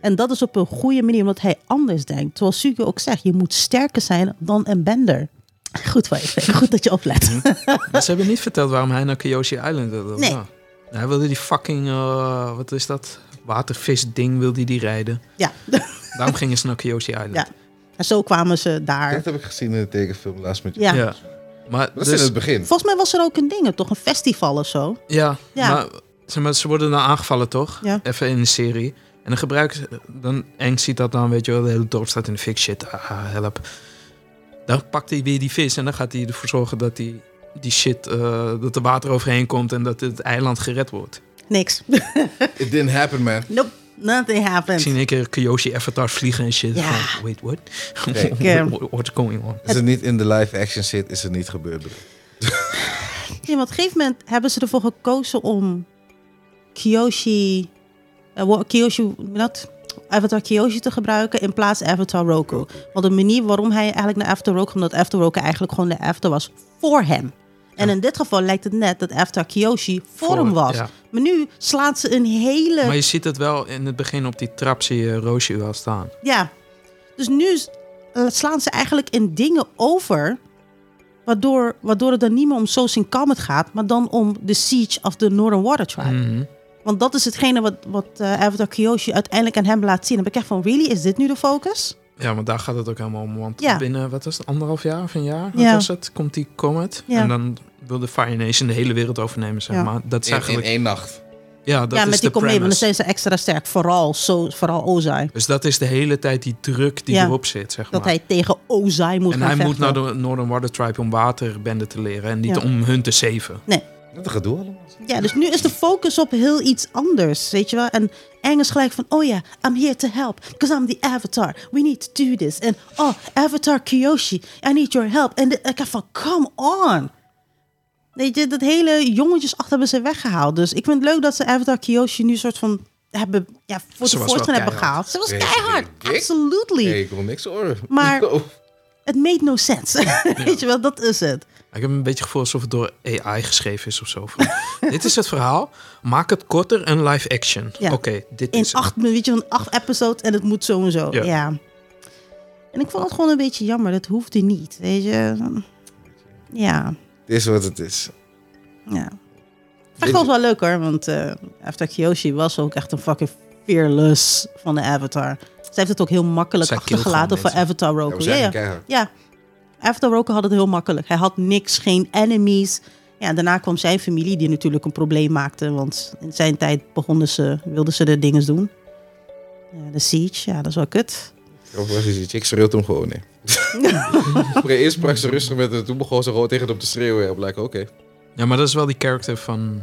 [SPEAKER 3] En dat is op een goede manier, omdat hij anders denkt. Terwijl Suke ook zegt, je moet sterker zijn dan een bender. Goed, wel even. Goed dat je oplet.
[SPEAKER 1] Maar ze hebben niet verteld waarom hij naar Kyoshi Island wilde.
[SPEAKER 3] Nee.
[SPEAKER 1] Ja. Hij wilde die fucking, eh, wat is dat? Watervis ding wilde hij die rijden.
[SPEAKER 3] *laughs* Ja.
[SPEAKER 1] Daarom gingen ze naar Kyoshi Island.
[SPEAKER 3] Ja. En zo kwamen ze daar.
[SPEAKER 2] *laughs* Dat heb ik gezien in de tekenfilm laatst met je.
[SPEAKER 3] Ja.
[SPEAKER 1] Ja. Maar
[SPEAKER 2] Dat is
[SPEAKER 1] dus-
[SPEAKER 2] in het begin.
[SPEAKER 3] Volgens mij was er ook een ding, toch? Een festival of zo.
[SPEAKER 1] Ja,
[SPEAKER 3] Ja.
[SPEAKER 1] maar zeg maar, ze worden dan aangevallen, toch?
[SPEAKER 3] Ja.
[SPEAKER 1] Even in de serie. En dan gebruiken ze... Dan Eng ziet dat dan, weet je wel, de hele dorp staat in de fik. Shit, ah, help. Dan pakt hij weer die vis en dan gaat hij ervoor zorgen dat die, die shit... eh, dat er water overheen komt en dat het eiland gered wordt.
[SPEAKER 3] Niks. *laughs*
[SPEAKER 2] It didn't happen, man.
[SPEAKER 3] nope. Nothing
[SPEAKER 1] Ik zie
[SPEAKER 3] happened.
[SPEAKER 1] in één keer Kyoshi Avatar vliegen en shit.
[SPEAKER 3] Ja.
[SPEAKER 1] Van, wait, what?
[SPEAKER 2] Oké.
[SPEAKER 1] What- *laughs* what- What's going on?
[SPEAKER 2] Als het niet in de live action zit, is het niet gebeurd. bro.
[SPEAKER 3] Ja, maar op een gegeven moment hebben ze ervoor gekozen om Kyoshi... eh, wa- Kyoshi... hoe noem je dat? Avatar Kyoshi te gebruiken in plaats Avatar Roku. Want de manier waarom hij eigenlijk naar Avatar Roku... Omdat Avatar Roku eigenlijk gewoon de Avatar was voor hem. En in dit geval lijkt het net dat Avatar Kyoshi voor,
[SPEAKER 1] Voor-
[SPEAKER 3] hem was.
[SPEAKER 1] ja.
[SPEAKER 3] Maar nu slaat ze een hele...
[SPEAKER 1] Maar je ziet het wel in het begin op die trap zie je Roshi wel staan.
[SPEAKER 3] Ja. Dus nu s- eh, slaan ze eigenlijk in dingen over. Waardoor, waardoor het dan niet meer om Sosin Kamet gaat. Maar dan om de Siege of the Northern Water Tribe.
[SPEAKER 1] Mhm.
[SPEAKER 3] Want dat is hetgene wat, wat eh, Avatar Kyoshi uiteindelijk aan hem laat zien. Dan ben ik echt van, really? Is dit nu de focus?
[SPEAKER 1] Ja, maar daar gaat het ook helemaal om. Want
[SPEAKER 3] Ja.
[SPEAKER 1] binnen, wat was het, anderhalf jaar of een jaar? Wat
[SPEAKER 3] Ja.
[SPEAKER 1] was het? Komt die Comet.
[SPEAKER 3] Ja.
[SPEAKER 1] En dan wil de Fire Nation de hele wereld overnemen, zeg
[SPEAKER 3] Ja.
[SPEAKER 1] maar. Dat is
[SPEAKER 2] In, in
[SPEAKER 1] eigenlijk...
[SPEAKER 2] één nacht.
[SPEAKER 1] Ja, dat
[SPEAKER 3] ja,
[SPEAKER 1] is
[SPEAKER 3] met die
[SPEAKER 1] de
[SPEAKER 3] comedie. Want
[SPEAKER 1] premise.
[SPEAKER 3] dan zijn ze extra sterk. Vooral, zo, vooral Ozai.
[SPEAKER 1] Dus dat is de hele tijd die druk die
[SPEAKER 3] Ja.
[SPEAKER 1] erop zit, zeg
[SPEAKER 3] Dat
[SPEAKER 1] maar.
[SPEAKER 3] hij tegen Ozai moet
[SPEAKER 1] en
[SPEAKER 3] gaan
[SPEAKER 1] hij moet
[SPEAKER 3] vechten.
[SPEAKER 1] naar de Northern Water Tribe om waterbenden te leren. En niet
[SPEAKER 3] Ja.
[SPEAKER 1] om hun te saven.
[SPEAKER 2] Wat een gedoe allemaal.
[SPEAKER 3] Ja, dus nu is de focus op heel iets anders, weet je wel? En Eng is gelijk van, oh ja, I'm here to help, because I'm the avatar. We need to do this. En oh, avatar Kyoshi, I need your help. En de- ik heb van, come on. Weet je, dat hele jongetjesachtig hebben ze weggehaald. Dus ik vind het leuk dat ze avatar Kyoshi nu soort van hebben, ja, voor
[SPEAKER 1] Ze
[SPEAKER 3] de
[SPEAKER 1] was wel
[SPEAKER 3] voortgang hebben gehaald. Ze was
[SPEAKER 2] Deze
[SPEAKER 3] keihard,
[SPEAKER 2] dingen dik.
[SPEAKER 3] absolutely.
[SPEAKER 2] Nee, ik wil niks horen. *laughs*
[SPEAKER 3] Maar-
[SPEAKER 2] Oh.
[SPEAKER 3] It made no sense. *laughs* weet je wel, dat is het.
[SPEAKER 1] Ik heb een beetje het gevoel alsof het door AI geschreven is of zo.
[SPEAKER 3] *laughs*
[SPEAKER 1] Van, dit is het verhaal. Maak het korter en live action.
[SPEAKER 3] Ja.
[SPEAKER 1] Oké, dit
[SPEAKER 3] In
[SPEAKER 1] is het.
[SPEAKER 3] acht minuten, weet je, van acht episodes en het moet zo en zo.
[SPEAKER 1] Ja.
[SPEAKER 3] Ja. En ik vond het gewoon een beetje jammer. Dat hoefde niet, weet je. Ja,
[SPEAKER 2] Het is wat het is.
[SPEAKER 3] ja. Echt was wel leuk hoor, want eh, After Kyoshi was ook echt een fucking fearless van de Avatar. Ze heeft het ook heel makkelijk
[SPEAKER 1] Zij killt
[SPEAKER 3] achtergelaten
[SPEAKER 1] gewoon
[SPEAKER 3] voor
[SPEAKER 1] mensen.
[SPEAKER 3] Avatar
[SPEAKER 2] Ja, we
[SPEAKER 3] Roku. Ja,
[SPEAKER 2] zijn
[SPEAKER 3] ja.
[SPEAKER 2] er keihard.
[SPEAKER 3] ja. Avatar Roku had het heel makkelijk. Hij had niks, geen enemies. Ja, en daarna kwam zijn familie, die natuurlijk een probleem maakte. Want in zijn tijd begonnen ze, wilden ze de dingen doen. Ja, de Siege, ja, dat is wel kut.
[SPEAKER 2] Of was het die chick schreeuwt hem gewoon
[SPEAKER 1] *laughs*
[SPEAKER 2] nee. Eerst sprak ze rustig met hem, toen begon ze gewoon tegen hem te schreeuwen. En blijkt, oké.
[SPEAKER 1] Ja, maar dat is wel die character van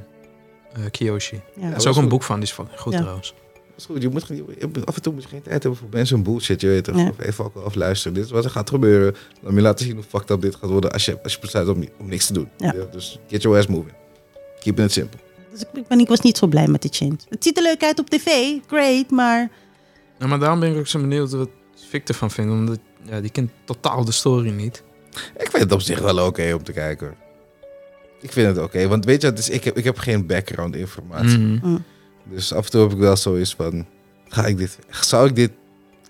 [SPEAKER 1] eh Kiyoshi.
[SPEAKER 3] Ja.
[SPEAKER 1] Er
[SPEAKER 2] Ja.
[SPEAKER 1] is ook een
[SPEAKER 2] goed.
[SPEAKER 1] boek van, die is van, goed
[SPEAKER 3] Ja.
[SPEAKER 1] trouwens.
[SPEAKER 2] Dat is goed, je moet, geen- je moet- af en toe moet je geen tijd hebben voor mensen een bullshit, je weet toch.
[SPEAKER 3] Ja.
[SPEAKER 2] Of even ook af luisteren, dit is wat er gaat gebeuren. Dan je laten zien hoe fucked up dit gaat worden als je, als je besluit om, om niks te doen.
[SPEAKER 3] Ja.
[SPEAKER 2] Ja, dus get your ass moving. Keeping it simple.
[SPEAKER 3] Dus ik, ik, ben, ik was niet zo blij met die change. Het ziet er leuk uit op tv, great, maar
[SPEAKER 1] Ja, maar daarom ben ik ook zo benieuwd wat Vic ervan vindt. Omdat ja, die kent totaal de story niet.
[SPEAKER 2] Ik vind het op zich wel oké om te kijken. hoor. Ik vind het oké, want weet je, wat het is, ik, heb, ik heb geen background informatie.
[SPEAKER 1] Mhm.
[SPEAKER 2] Dus af en toe heb ik wel zoiets van: ga ik dit, zou ik dit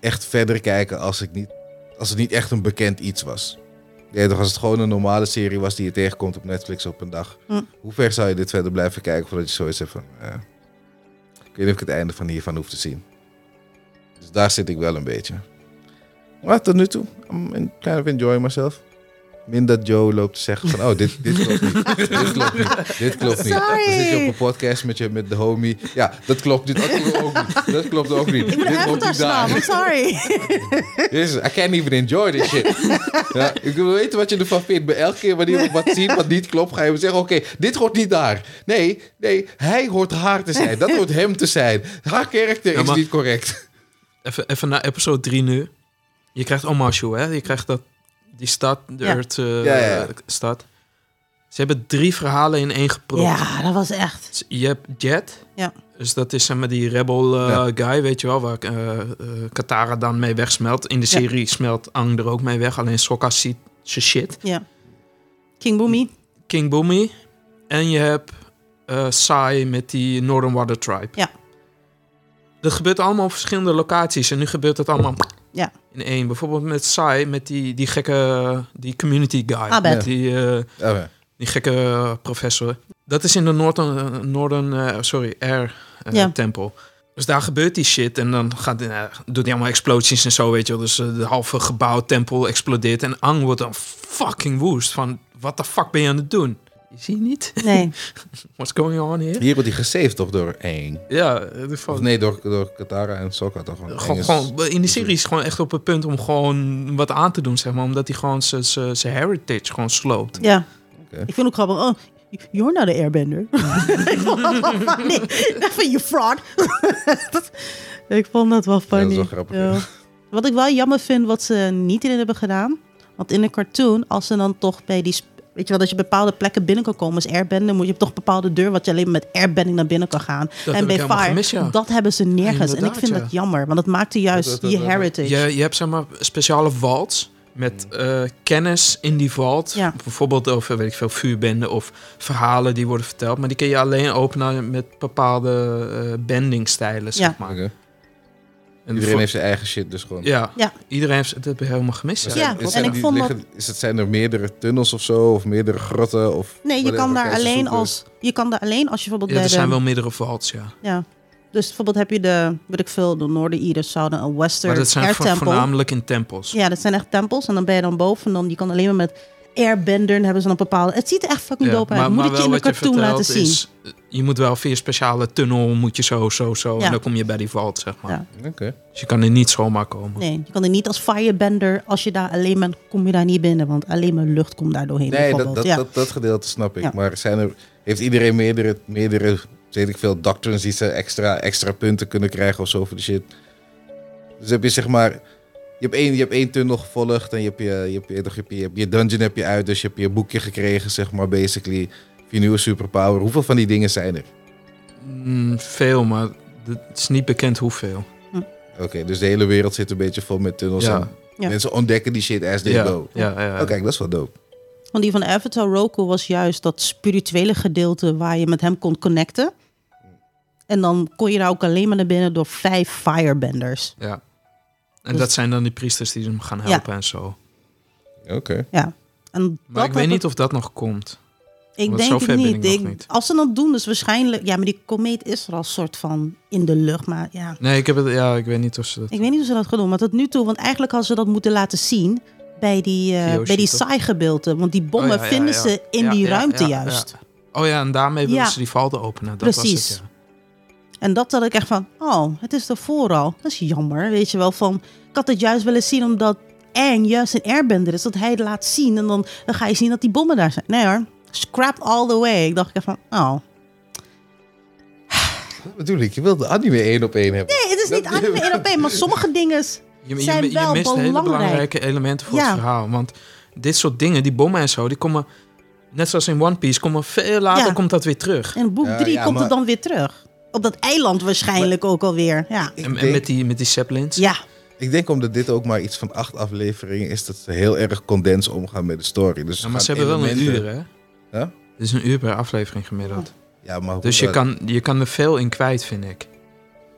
[SPEAKER 2] echt verder kijken als, ik niet, als het niet echt een bekend iets was? Ja, toch als het gewoon een normale serie was die je tegenkomt op Netflix op een dag.
[SPEAKER 3] Hm.
[SPEAKER 2] Hoe ver zou je dit verder blijven kijken voordat je zoiets hebt van... eh, ik weet niet of ik het einde van hiervan hoef te zien. Dus daar zit ik wel een beetje. Maar tot nu toe, I'm en- kind of enjoying myself. Min dat Joe loopt te zeggen van, oh, dit, dit klopt niet. dit klopt niet. Dit klopt niet. Dan zit je op een podcast met, je, met de homie. Ja, dat klopt niet. Dat klopt ook niet. Dat klopt ook niet.
[SPEAKER 3] ik moet
[SPEAKER 2] Dit klopt
[SPEAKER 3] Avatar
[SPEAKER 2] niet daar.
[SPEAKER 3] slaan, I'm sorry.
[SPEAKER 2] *laughs* Jezus, I can't even enjoy this shit. ja, ik wil weten wat je ervan vindt. Maar elke keer wanneer ik wat ziet wat niet klopt, ga je me zeggen... oké, dit hoort niet daar. Nee, nee, hij hoort haar te zijn. Dat hoort hem te zijn. Haar karakter
[SPEAKER 1] Ja, maar-
[SPEAKER 2] is niet correct.
[SPEAKER 1] Even, even naar episode 3 nu. Je krijgt Omashu, hè? Je krijgt dat, die stad, de
[SPEAKER 3] Ja.
[SPEAKER 1] Earth eh,
[SPEAKER 2] Ja, ja.
[SPEAKER 1] stad. Ze hebben drie verhalen in één gepropt.
[SPEAKER 3] Ja, dat was echt.
[SPEAKER 1] Dus Je hebt Jet.
[SPEAKER 3] Ja.
[SPEAKER 1] Dus dat is zeg maar die rebel eh,
[SPEAKER 2] Ja.
[SPEAKER 1] guy, weet je wel, waar eh, eh, Katara dan mee wegsmelt. In de
[SPEAKER 3] Ja.
[SPEAKER 1] serie smelt Ang er ook mee weg, alleen Sokka ziet zijn shit.
[SPEAKER 3] Ja. King Boomy.
[SPEAKER 1] King Boomy. En je hebt eh Sai met die Northern Water Tribe.
[SPEAKER 3] Ja.
[SPEAKER 1] Dat gebeurt allemaal op verschillende locaties. En nu gebeurt het allemaal
[SPEAKER 3] Ja.
[SPEAKER 1] in één. Bijvoorbeeld met Sai, met die, die gekke die community guy.
[SPEAKER 3] Abed.
[SPEAKER 1] Met die, eh,
[SPEAKER 2] Oh, ja.
[SPEAKER 1] die gekke eh, professor. Dat is in de Northern, Northern eh, sorry, Air eh,
[SPEAKER 3] Ja.
[SPEAKER 1] Temple. Dus daar gebeurt die shit en dan gaat, eh, doet hij allemaal explosies en zo, weet je wel. Dus eh, de halve gebouw, tempel explodeert en Ang wordt dan fucking woest van... Wat de fuck ben je aan het doen? Je ziet niet? *laughs*
[SPEAKER 3] Nee.
[SPEAKER 1] What's going on here?
[SPEAKER 2] Hier wordt hij gesaved toch door één.
[SPEAKER 1] Ja, eh, dus
[SPEAKER 2] Of
[SPEAKER 1] van,
[SPEAKER 2] nee, door, door Katara en Sokka toch? Want
[SPEAKER 1] gewoon,
[SPEAKER 2] Aang is-
[SPEAKER 1] gewoon- eh, in de serie is het gewoon echt op het punt om gewoon wat aan te doen, zeg maar. Omdat hij gewoon zijn- zijn zijn heritage gewoon sloopt.
[SPEAKER 3] Ja.
[SPEAKER 2] Oké.
[SPEAKER 3] Ik vind ook grappig. Oh, you're not an airbender.
[SPEAKER 2] *laughs*
[SPEAKER 3] ik vond dat wel funny. Ik vind je fraud. *laughs* Dat- ik vond dat wel funny.
[SPEAKER 2] dat is wel grappig, ja.
[SPEAKER 3] Wat ik wel jammer vind, wat ze niet in hebben gedaan. Want in een cartoon, als ze dan toch bij die... sp- Weet je wel, dat je bepaalde plekken binnen kan komen als airbender. Moet je hebt toch een bepaalde deur wat je alleen maar met airbending naar binnen kan gaan.
[SPEAKER 1] heb
[SPEAKER 3] en
[SPEAKER 1] ik
[SPEAKER 3] bij
[SPEAKER 1] helemaal
[SPEAKER 3] Fire,
[SPEAKER 1] gemist, ja.
[SPEAKER 3] dat hebben ze nergens. En ik
[SPEAKER 1] Inderdaad,
[SPEAKER 3] vind
[SPEAKER 1] ja.
[SPEAKER 3] dat jammer, want dat maakte juist
[SPEAKER 2] Dat- dat-
[SPEAKER 3] je
[SPEAKER 2] dat-
[SPEAKER 3] heritage.
[SPEAKER 1] Je, je hebt zeg maar speciale vaults met eh, kennis in die vault.
[SPEAKER 3] Mm. Ja.
[SPEAKER 1] Bijvoorbeeld over, weet ik veel, vuurbenden of verhalen die worden verteld. Maar die kun je alleen openen met bepaalde eh bendingstijlen, zeg
[SPEAKER 3] Ja.
[SPEAKER 1] maar.
[SPEAKER 2] Oké.
[SPEAKER 1] En
[SPEAKER 2] Iedereen
[SPEAKER 1] voor-
[SPEAKER 2] heeft zijn eigen shit, dus gewoon...
[SPEAKER 1] Ja,
[SPEAKER 3] Ja.
[SPEAKER 1] iedereen heeft... Dat heb ik helemaal gemist.
[SPEAKER 3] Ja.
[SPEAKER 2] Is-
[SPEAKER 3] en ik
[SPEAKER 2] die
[SPEAKER 3] vond
[SPEAKER 2] liggen- Is het, zijn er meerdere tunnels of zo? Of meerdere grotten? Of
[SPEAKER 3] Nee, je
[SPEAKER 2] whatever,
[SPEAKER 3] kan, daar
[SPEAKER 2] kijk, ze
[SPEAKER 3] alleen
[SPEAKER 2] zoeken.
[SPEAKER 3] als, je kan daar alleen als je bijvoorbeeld
[SPEAKER 1] Ja, er
[SPEAKER 3] bij de...
[SPEAKER 1] zijn wel meerdere vaults, ja.
[SPEAKER 3] Ja. Dus bijvoorbeeld heb je de, weet ik veel, de noorden Ieren, zouden een
[SPEAKER 1] Maar
[SPEAKER 3] western
[SPEAKER 1] dat zijn
[SPEAKER 3] air
[SPEAKER 1] vo-
[SPEAKER 3] temple.
[SPEAKER 1] voornamelijk in tempels.
[SPEAKER 3] Ja, dat zijn echt tempels. En dan ben je dan boven. En dan, je kan alleen maar met airbender hebben ze dan bepaalde... Het ziet er echt fucking dope uit. Moet ik je in
[SPEAKER 1] wel
[SPEAKER 3] een
[SPEAKER 1] wat
[SPEAKER 3] cartoon
[SPEAKER 1] vertelt
[SPEAKER 3] laten zien.
[SPEAKER 1] is, eh, je moet wel via speciale tunnel, moet je zo, zo, zo.
[SPEAKER 3] Ja.
[SPEAKER 1] En dan kom je bij die vault, zeg maar.
[SPEAKER 3] Ja.
[SPEAKER 2] Oké.
[SPEAKER 1] Dus je kan er niet zomaar komen.
[SPEAKER 3] Nee, je kan er niet als firebender. Als je daar alleen bent, kom je daar niet binnen. Want alleen maar lucht komt daar doorheen.
[SPEAKER 2] Nee, dat,
[SPEAKER 3] bijvoorbeeld.
[SPEAKER 2] dat,
[SPEAKER 3] ja.
[SPEAKER 2] dat, dat gedeelte snap ik.
[SPEAKER 3] Ja.
[SPEAKER 2] Maar zijn er, heeft iedereen meerdere, meerdere, weet ik veel, doctrines die ze extra, extra punten kunnen krijgen of zo voor de shit? Dus heb je zeg maar, je hebt één, je hebt één tunnel gevolgd en je hebt je, je, hebt je, toch, je, hebt je, je hebt je dungeon heb je uit, dus je hebt je boekje gekregen, zeg maar, basically. Of Je nieuwe superpower. Hoeveel van die dingen zijn er?
[SPEAKER 1] Mm, veel, maar het is niet bekend hoeveel.
[SPEAKER 2] Oké, dus de hele wereld zit een beetje vol met tunnels.
[SPEAKER 1] Ja.
[SPEAKER 2] En
[SPEAKER 3] Ja.
[SPEAKER 2] Mensen ontdekken die shit as they
[SPEAKER 1] ja,
[SPEAKER 2] go.
[SPEAKER 1] ja, ja.
[SPEAKER 2] Oké, dat is wel dope.
[SPEAKER 3] Want die van Avatar Roku was juist dat spirituele gedeelte waar je met hem kon connecten. En dan kon je daar ook alleen maar naar binnen door vijf firebenders.
[SPEAKER 1] Ja. En
[SPEAKER 3] Dus-
[SPEAKER 1] dat zijn dan die priesters die hem gaan helpen en zo.
[SPEAKER 2] Oké.
[SPEAKER 3] En
[SPEAKER 1] Maar
[SPEAKER 3] dat
[SPEAKER 1] ik weet
[SPEAKER 3] had-
[SPEAKER 1] niet of dat nog komt.
[SPEAKER 3] Ik
[SPEAKER 1] want
[SPEAKER 3] denk
[SPEAKER 1] zover
[SPEAKER 3] het
[SPEAKER 1] ben
[SPEAKER 3] niet.
[SPEAKER 1] ik nog
[SPEAKER 3] Ik-
[SPEAKER 1] niet.
[SPEAKER 3] Als ze dat doen, dus waarschijnlijk... Ja, maar die komeet is er al soort van in de lucht. Maar ja,
[SPEAKER 1] Nee, ik, heb het, ja, ik weet niet of ze dat...
[SPEAKER 3] ik weet niet hoe ze dat gaan doen. Maar tot nu toe, want eigenlijk hadden ze dat moeten laten zien... bij die, eh
[SPEAKER 1] Yoshi,
[SPEAKER 3] bij die
[SPEAKER 1] toch?
[SPEAKER 3] saai-gebeelten. Want die bommen
[SPEAKER 1] Oh, ja, ja,
[SPEAKER 3] vinden
[SPEAKER 1] ja.
[SPEAKER 3] ze in
[SPEAKER 1] Ja,
[SPEAKER 3] die
[SPEAKER 1] ja,
[SPEAKER 3] ruimte
[SPEAKER 1] ja, ja.
[SPEAKER 3] juist.
[SPEAKER 1] Oh ja, en daarmee willen
[SPEAKER 3] Ja.
[SPEAKER 1] ze die valde openen. Dat
[SPEAKER 3] Precies.
[SPEAKER 1] Was het,
[SPEAKER 3] En dat had ik echt van, oh, het is er vooral. Dat is jammer, weet je wel. Van, ik had het juist willen zien omdat Aang juist een airbender is. Dat hij het laat zien en dan, dan ga je zien dat die bommen daar zijn. Nee hoor, scrap all the way. Ik dacht echt van, oh.
[SPEAKER 2] Dat bedoel ik. Je wilt de anime één op één hebben.
[SPEAKER 3] Nee, het is niet anime één op
[SPEAKER 1] *laughs*
[SPEAKER 3] één, maar sommige dingen... is-
[SPEAKER 1] ja. je,
[SPEAKER 3] Zijn
[SPEAKER 1] je, je
[SPEAKER 3] wel
[SPEAKER 1] mist hele
[SPEAKER 3] belangrijk.
[SPEAKER 1] belangrijke elementen voor
[SPEAKER 3] Ja.
[SPEAKER 1] het verhaal. Want dit soort dingen, die bommen en zo, die komen... Net zoals in One Piece, komen veel later
[SPEAKER 3] Ja.
[SPEAKER 1] komt dat weer terug.
[SPEAKER 3] In boek
[SPEAKER 2] Ja,
[SPEAKER 3] 3
[SPEAKER 2] ja,
[SPEAKER 3] komt
[SPEAKER 2] maar-
[SPEAKER 3] het dan weer terug. Op dat eiland waarschijnlijk ook alweer. Ja,
[SPEAKER 1] En,
[SPEAKER 2] Ik
[SPEAKER 1] en
[SPEAKER 2] denk-
[SPEAKER 1] met die, met die zeppelins.
[SPEAKER 3] ja.
[SPEAKER 2] Ik denk omdat dit ook maar iets van acht afleveringen is, dat ze heel erg condens omgaan met de story. Dus
[SPEAKER 1] Ja, maar ze
[SPEAKER 2] gaan
[SPEAKER 1] hebben wel een
[SPEAKER 2] elementen-
[SPEAKER 1] uur, hè?
[SPEAKER 2] Ja?
[SPEAKER 1] Het is een uur per aflevering gemiddeld.
[SPEAKER 2] Ja, maar hoe
[SPEAKER 1] Dus je
[SPEAKER 3] Eh,
[SPEAKER 2] dat-
[SPEAKER 1] kan, je kan er veel in kwijt, vind ik.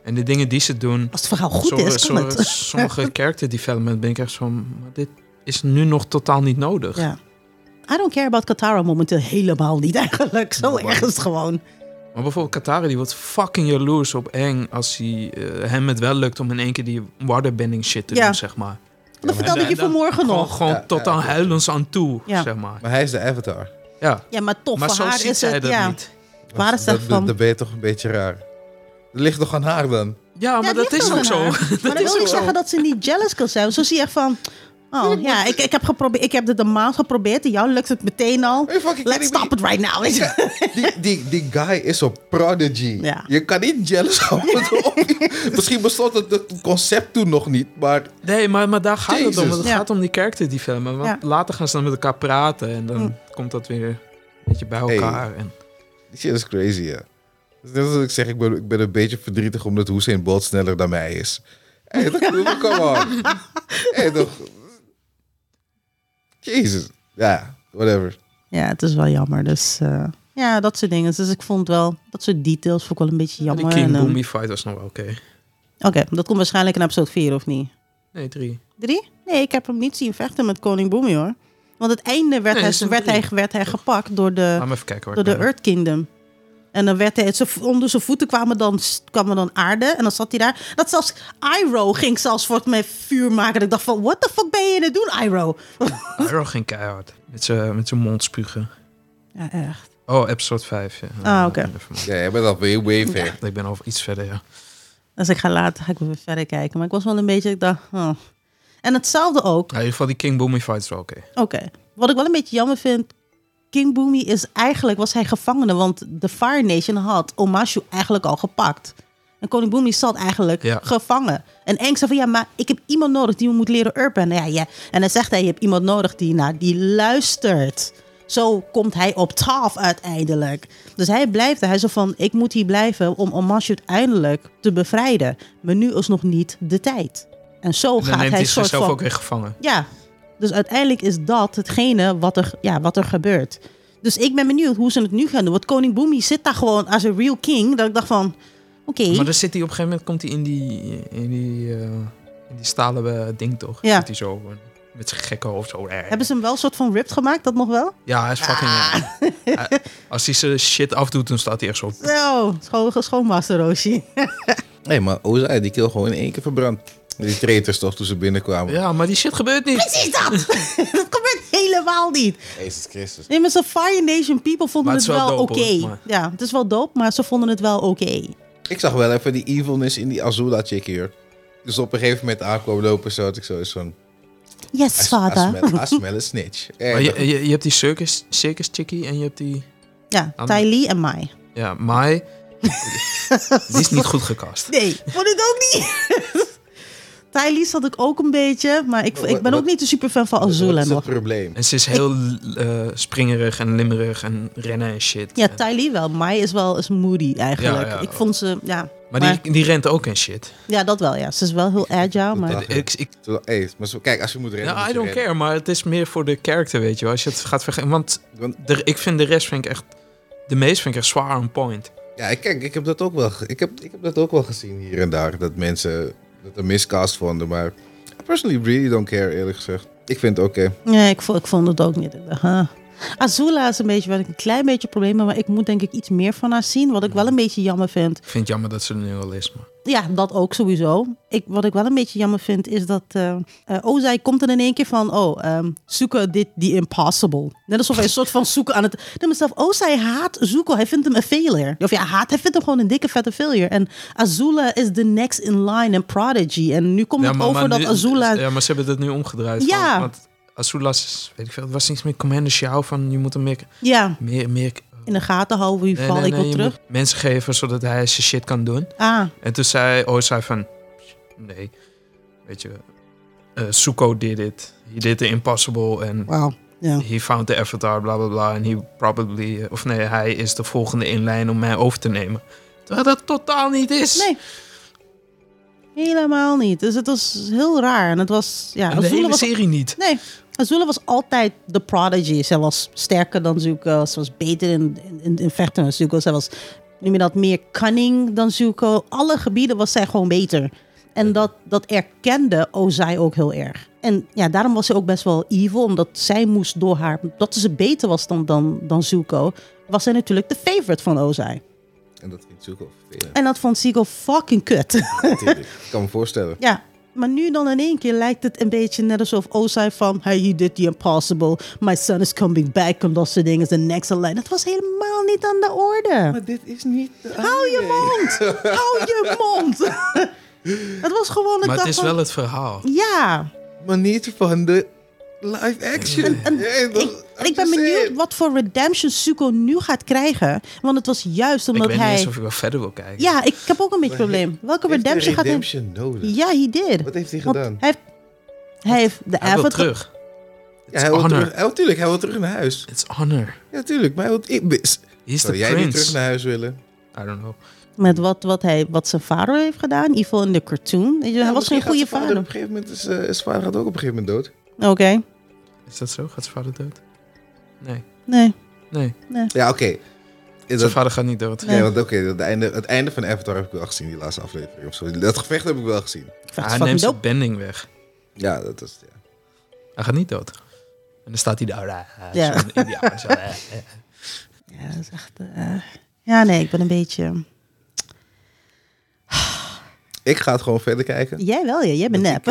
[SPEAKER 1] En de dingen die ze doen...
[SPEAKER 3] Als het verhaal goed
[SPEAKER 1] sommige-
[SPEAKER 3] is, kan
[SPEAKER 1] sommige,
[SPEAKER 3] het. *laughs*
[SPEAKER 1] sommige character development ben ik echt zo... Maar dit is nu nog totaal niet nodig.
[SPEAKER 3] Ja. I don't care about Katara momenteel helemaal niet eigenlijk. Zo
[SPEAKER 2] Nou, maar-
[SPEAKER 3] erg is het gewoon.
[SPEAKER 1] Maar bijvoorbeeld Katara, die wordt fucking jaloers op Eng... als hij, eh, hem het wel lukt om in één keer die waterbending shit te
[SPEAKER 3] Ja.
[SPEAKER 1] doen, zeg maar.
[SPEAKER 3] Dat vertelde ik je
[SPEAKER 1] En dan-
[SPEAKER 3] vanmorgen
[SPEAKER 1] Gewoon,
[SPEAKER 3] nog.
[SPEAKER 1] gewoon
[SPEAKER 2] Ja,
[SPEAKER 1] tot
[SPEAKER 2] ja,
[SPEAKER 1] aan
[SPEAKER 2] klopt.
[SPEAKER 1] huilens aan toe,
[SPEAKER 3] Ja.
[SPEAKER 1] zeg maar.
[SPEAKER 2] Maar hij is de avatar.
[SPEAKER 1] Ja.
[SPEAKER 3] Ja, maar toch,
[SPEAKER 1] Maar
[SPEAKER 3] voor
[SPEAKER 1] zo
[SPEAKER 3] haar
[SPEAKER 1] ziet
[SPEAKER 3] is
[SPEAKER 1] zij
[SPEAKER 3] het...
[SPEAKER 1] dat
[SPEAKER 3] ja.
[SPEAKER 1] niet.
[SPEAKER 3] Waar is dat
[SPEAKER 2] dat,
[SPEAKER 3] van?
[SPEAKER 2] Dan ben je toch een beetje raar. Dat ligt nog aan haar dan.
[SPEAKER 1] Ja, maar
[SPEAKER 3] Ja,
[SPEAKER 1] dat
[SPEAKER 3] het ligt
[SPEAKER 1] is
[SPEAKER 3] wel
[SPEAKER 1] ook zo.
[SPEAKER 3] aan
[SPEAKER 1] *laughs*
[SPEAKER 3] haar. Maar dat wil niet zeggen dat ze niet jealous kan zijn. Zo zie je echt van... Oh ja, ik, ik heb geprobeerd, ik heb dit een maand geprobeerd. En jou lukt het meteen al.
[SPEAKER 2] Hey, fucking
[SPEAKER 3] Let's
[SPEAKER 2] kidding me.
[SPEAKER 3] stop it right now. weet je.
[SPEAKER 2] Die, die, die guy is een prodigy.
[SPEAKER 3] Ja.
[SPEAKER 2] Je kan niet jealous
[SPEAKER 3] *laughs*
[SPEAKER 2] houden. Misschien bestond het, het concept toen nog niet, maar
[SPEAKER 1] Nee, maar, maar daar gaat het om.
[SPEAKER 2] Jezus.
[SPEAKER 1] want Het
[SPEAKER 3] Ja.
[SPEAKER 1] gaat om die character development. Want
[SPEAKER 3] Ja. Mm.
[SPEAKER 1] later gaan ze dan met elkaar praten. En dan komt dat weer een beetje bij elkaar. En,
[SPEAKER 2] die shit is crazy, ja. Dus net als ik zeg, ik ben, ik ben een beetje verdrietig omdat Hussein Bolt sneller dan mij is. Hé, hey, toch, come on. hey, toch. Jezus. Ja, whatever.
[SPEAKER 3] Ja, het is wel jammer. Dus eh, ja, dat soort dingen. Dus ik vond wel, dat soort details vond ik wel een beetje
[SPEAKER 1] en die
[SPEAKER 3] jammer.
[SPEAKER 1] King
[SPEAKER 3] En, ehm,
[SPEAKER 1] Boomy fight was nog wel oké.
[SPEAKER 3] Oké, dat komt waarschijnlijk in episode 4 of niet?
[SPEAKER 1] Nee, drie.
[SPEAKER 3] Drie? Nee, ik heb hem niet zien vechten met koning Boomy hoor. Want het einde werd,
[SPEAKER 1] Nee, dat is Ah,
[SPEAKER 3] hij,
[SPEAKER 1] in
[SPEAKER 3] werd,
[SPEAKER 1] drie.
[SPEAKER 3] hij, werd hij gepakt door de...
[SPEAKER 1] Laat me even kijken waar
[SPEAKER 3] door
[SPEAKER 1] ik
[SPEAKER 3] de
[SPEAKER 1] ben.
[SPEAKER 3] Earth Kingdom. En dan werd hij, ze- onder zijn voeten kwamen dan, kwamen dan aarde. En dan zat hij daar. Dat zelfs Iroh ging zelfs voor mij vuur maken. Dat ik dacht van, what the fuck ben je aan het doen, Iroh?
[SPEAKER 1] Iroh ging keihard. Met zijn met zijn mond spugen.
[SPEAKER 3] Ja, echt.
[SPEAKER 1] Oh, episode 5. Ja.
[SPEAKER 3] Ah, oké.
[SPEAKER 1] Never mind.
[SPEAKER 2] Ja, jij bent al way, way ver.
[SPEAKER 1] Ik ben al iets verder, ja.
[SPEAKER 3] Dus ik ga later ga ik weer verder kijken. Maar ik was wel een beetje, ik dacht, oh. En hetzelfde ook.
[SPEAKER 1] Ja, In ieder geval, die King Boomy fight is wel oké.
[SPEAKER 3] Oké. Wat ik wel een beetje jammer vind. King Boomy is eigenlijk, was hij gevangene. Want de Fire Nation had Omashu eigenlijk al gepakt. En koning Boomy zat eigenlijk
[SPEAKER 1] Ja.
[SPEAKER 3] gevangen. En Aang zei van, ja, maar ik heb iemand nodig die me moet leren urban. Ja, ja. En dan zegt hij, je hebt iemand nodig die, nou, die luistert. Zo komt hij op 12 uiteindelijk. Dus hij blijft, er. hij zo van, ik moet hier blijven om Omashu uiteindelijk te bevrijden. Maar nu is nog niet de tijd. En zo
[SPEAKER 1] En dan
[SPEAKER 3] gaat
[SPEAKER 1] neemt
[SPEAKER 3] hij
[SPEAKER 1] hij
[SPEAKER 3] soort
[SPEAKER 1] zichzelf
[SPEAKER 3] van...
[SPEAKER 1] ook weer gevangen.
[SPEAKER 3] Ja, dus uiteindelijk is dat hetgene wat er, ja, wat er gebeurt. Dus ik ben benieuwd hoe ze het nu gaan doen. Want koning Boomy zit daar gewoon als een real king. Dat ik dacht van, oké.
[SPEAKER 1] Maar dus- dan zit hij op een gegeven moment komt hij in die, in die, eh, in die stalen eh, ding toch?
[SPEAKER 3] Ja.
[SPEAKER 1] Zit hij zo eh, met zijn gekke hoofd zo. eh,
[SPEAKER 3] Hebben ze hem wel een soort van ripped gemaakt? Dat nog wel?
[SPEAKER 1] Ja, hij is fucking.
[SPEAKER 3] *laughs*
[SPEAKER 1] ja. Hij- als hij zijn shit afdoet, dan staat hij echt zo.
[SPEAKER 3] Zo, schoon, schoonmaster
[SPEAKER 1] *laughs*
[SPEAKER 3] Roshi.
[SPEAKER 2] Nee, maar Ozai, die kill gewoon in één keer verbrand. Die traitors toch, toen ze binnenkwamen.
[SPEAKER 1] Ja, maar die shit gebeurt niet.
[SPEAKER 3] Precies dat! *laughs* dat gebeurt helemaal niet.
[SPEAKER 2] Jezus Christus.
[SPEAKER 3] Nee, maar ze Fire Nation people vonden
[SPEAKER 1] Maar
[SPEAKER 3] het,
[SPEAKER 1] het is wel
[SPEAKER 3] wel
[SPEAKER 1] dope,
[SPEAKER 3] oké.
[SPEAKER 1] hoor, maar-
[SPEAKER 3] Ja, het is wel dope, maar ze vonden het wel oké.
[SPEAKER 2] Ik zag wel even die evilness in die Azula chick hier. Dus op een gegeven moment aankwam lopen, zo had ik zo eens van...
[SPEAKER 3] Yes, vader.
[SPEAKER 2] Asmel een snitch. Eh,
[SPEAKER 1] Maar
[SPEAKER 2] dat-
[SPEAKER 1] je, je, je hebt die circus, circus chickie en je hebt die.
[SPEAKER 3] Ja,
[SPEAKER 1] Aan-
[SPEAKER 3] Ty Lee en Mai.
[SPEAKER 1] Ja,
[SPEAKER 3] *laughs*
[SPEAKER 1] Mai. die is niet goed gekast.
[SPEAKER 3] Nee, vond ik ook niet. *laughs* Thailies had ik ook een beetje, maar ik, ik ben
[SPEAKER 2] Wat-
[SPEAKER 3] ook niet een super fan van Azula.
[SPEAKER 2] Dat is het
[SPEAKER 3] nog.
[SPEAKER 2] probleem.
[SPEAKER 1] En ze is heel eh, springerig en limmerig en rennen en shit.
[SPEAKER 3] Ja,
[SPEAKER 1] En-
[SPEAKER 3] Tylee wel. Mai is wel eens moody eigenlijk.
[SPEAKER 1] Ja, ja.
[SPEAKER 3] ik vond ze, ja.
[SPEAKER 1] maar die, die rent ook en shit.
[SPEAKER 3] ja, dat wel, ja. Ze is wel heel agile, maar...
[SPEAKER 2] Ja.
[SPEAKER 1] Ik, ik,
[SPEAKER 2] Terwijl- hey, maar zo, kijk, als je moet rennen,
[SPEAKER 1] ja, I
[SPEAKER 2] moet je
[SPEAKER 1] don't
[SPEAKER 2] rennen.
[SPEAKER 1] care, maar het is meer voor de character, weet je wel. Als je het gaat vergeten. Want
[SPEAKER 2] Want,
[SPEAKER 1] de, ik vind de rest vind ik echt. De meest vind ik echt zwaar on point.
[SPEAKER 2] ja, ik- kijk, ik heb, dat ook wel, ge- ik, heb, ik heb dat ook wel gezien hier en daar. Dat mensen dat een miscast vonden, maar... Personally, really don't care, eerlijk gezegd. Ik vind het oké.
[SPEAKER 3] Nee, ik vond, ik vond het ook niet. Ik dacht, huh. Azula is een beetje waar ik een klein beetje problemen mee Maar ik moet denk ik iets meer van haar zien. Wat ik wel een beetje jammer vind.
[SPEAKER 1] Ik vind het jammer dat ze er nu al is, maar...
[SPEAKER 3] Ja, dat ook sowieso. Ik, wat ik wel een beetje jammer vind is dat eh eh, Ozai komt er in één keer van... Oh, ehm zoeken dit die impossible. Net alsof hij een soort van zoeken aan het... Ik dacht mezelf, Ozai haat zoeken. Hij vindt hem een failure. Of ja, haat. Hij vindt hem gewoon een dikke vette failure. En Azula is the next in line en prodigy. En nu komt
[SPEAKER 1] Ja,
[SPEAKER 3] het
[SPEAKER 1] maar-
[SPEAKER 3] over
[SPEAKER 1] maar
[SPEAKER 3] dat
[SPEAKER 1] nu- dus,
[SPEAKER 3] Azula...
[SPEAKER 1] Ja, maar ze hebben het nu omgedraaid.
[SPEAKER 3] Ja.
[SPEAKER 1] Van, want Azula's, is- weet ik veel, het was niks meer Commander Xiao van je moet hem meer...
[SPEAKER 3] ja,
[SPEAKER 1] meer, meer
[SPEAKER 3] in de gaten houden. Wie val ik wel
[SPEAKER 1] je
[SPEAKER 3] terug?
[SPEAKER 1] moet mensen geven zodat hij zijn shit kan doen.
[SPEAKER 3] Ah,
[SPEAKER 1] En toen zei Ozai van, nee, weet je, eh, Zuko did it. He did the impossible and
[SPEAKER 3] wauw. Ja.
[SPEAKER 1] he found the avatar, bla bla bla. En he probably, eh, of nee, hij is de volgende in lijn om mij over te nemen. Terwijl dat totaal niet is.
[SPEAKER 3] Nee. Helemaal niet. Dus het was heel raar. En het was... Ja,
[SPEAKER 1] En de
[SPEAKER 3] Azula
[SPEAKER 1] hele
[SPEAKER 3] was
[SPEAKER 1] serie niet.
[SPEAKER 3] Nee, Azula was altijd de prodigy. Zij was sterker dan Zuko. Ze was beter in, in, in vechten dan Zuko. Zij was, noem je dat, meer cunning dan Zuko. Alle gebieden was zij gewoon beter. En dat, dat erkende Ozai ook heel erg. En ja, daarom was ze ook best wel evil. Omdat zij moest door haar... Dat ze beter was dan, dan, dan Zuko... was zij natuurlijk de favorite van Ozai.
[SPEAKER 2] En dat vind ik ook wel *laughs* vervelend.
[SPEAKER 3] En dat vond Zuko fucking kut.
[SPEAKER 2] natuurlijk. Ik kan me voorstellen.
[SPEAKER 3] Ja, maar nu dan in één keer lijkt het een beetje net alsof Ozai van... Hey, he did the impossible. My son is coming back. En dat soort dingen. is The next in line. Dat was helemaal niet aan de orde.
[SPEAKER 2] Maar dit is niet... de
[SPEAKER 3] Hou je
[SPEAKER 2] anime.
[SPEAKER 3] mond! Hou
[SPEAKER 2] *laughs*
[SPEAKER 3] je mond! het was gewoon... Ik
[SPEAKER 1] Maar het
[SPEAKER 3] dacht
[SPEAKER 1] is
[SPEAKER 3] van,
[SPEAKER 1] wel het verhaal.
[SPEAKER 3] Ja.
[SPEAKER 2] Maar niet van de live action. Hey, dat- I'm
[SPEAKER 3] Ik, ik ben
[SPEAKER 2] just
[SPEAKER 3] benieuwd
[SPEAKER 2] saying.
[SPEAKER 3] wat voor redemption Zuko nu gaat krijgen. Want het was juist
[SPEAKER 1] Ik
[SPEAKER 3] omdat
[SPEAKER 1] weet niet
[SPEAKER 3] hij...
[SPEAKER 1] eens of je wel verder wil kijken.
[SPEAKER 3] Ja, ik heb ook een beetje
[SPEAKER 2] Maar
[SPEAKER 3] probleem. Welke
[SPEAKER 2] Heeft hij
[SPEAKER 3] redemption gaat hij...
[SPEAKER 2] redemption nodig?
[SPEAKER 3] Ja, he did.
[SPEAKER 2] Wat heeft hij
[SPEAKER 3] Want
[SPEAKER 2] gedaan?
[SPEAKER 3] Hij heeft, hij heeft de
[SPEAKER 1] Hij wil
[SPEAKER 3] avatar-
[SPEAKER 1] terug.
[SPEAKER 2] Ja, hij wil
[SPEAKER 1] honor.
[SPEAKER 2] terug, hij wil, tuurlijk, hij wil terug naar huis.
[SPEAKER 1] It's honor.
[SPEAKER 2] Ja, tuurlijk. Maar hij wil, ik,
[SPEAKER 1] He's the
[SPEAKER 2] zou jij niet
[SPEAKER 1] prince.
[SPEAKER 2] terug naar huis willen?
[SPEAKER 1] I don't know.
[SPEAKER 3] Met wat, wat, hij, wat zijn vader heeft gedaan, in ieder geval in de cartoon. Weet je, hij
[SPEAKER 2] Ja,
[SPEAKER 3] was geen
[SPEAKER 2] misschien gaat
[SPEAKER 3] goede
[SPEAKER 2] zijn
[SPEAKER 3] vader.
[SPEAKER 2] Op een gegeven moment is, eh, zijn vader gaat ook op een gegeven moment dood.
[SPEAKER 3] Oké,
[SPEAKER 1] Is dat zo? Gaat zijn vader dood? Nee.
[SPEAKER 3] nee.
[SPEAKER 1] Nee.
[SPEAKER 2] Ja, oké. Is
[SPEAKER 1] Zijn
[SPEAKER 2] dat-
[SPEAKER 1] vader gaat niet dood.
[SPEAKER 3] Nee.
[SPEAKER 2] Ja, want oké, dat einde, het einde van Avatar heb ik wel gezien, die laatste aflevering of zo. Dat gevecht heb ik wel gezien.
[SPEAKER 1] hij neemt zijn bending weg.
[SPEAKER 2] Ja, dat is... Ja.
[SPEAKER 1] Hij gaat niet dood. En dan staat hij daar. eh,
[SPEAKER 3] Ja.
[SPEAKER 1] zo'n Indiaan, zo, *laughs* eh, eh.
[SPEAKER 3] Ja, dat is echt... eh, Ja, nee, ik ben een beetje...
[SPEAKER 2] Ik ga het gewoon verder kijken.
[SPEAKER 3] Jij wel, ja. jij bent nep.
[SPEAKER 2] *laughs*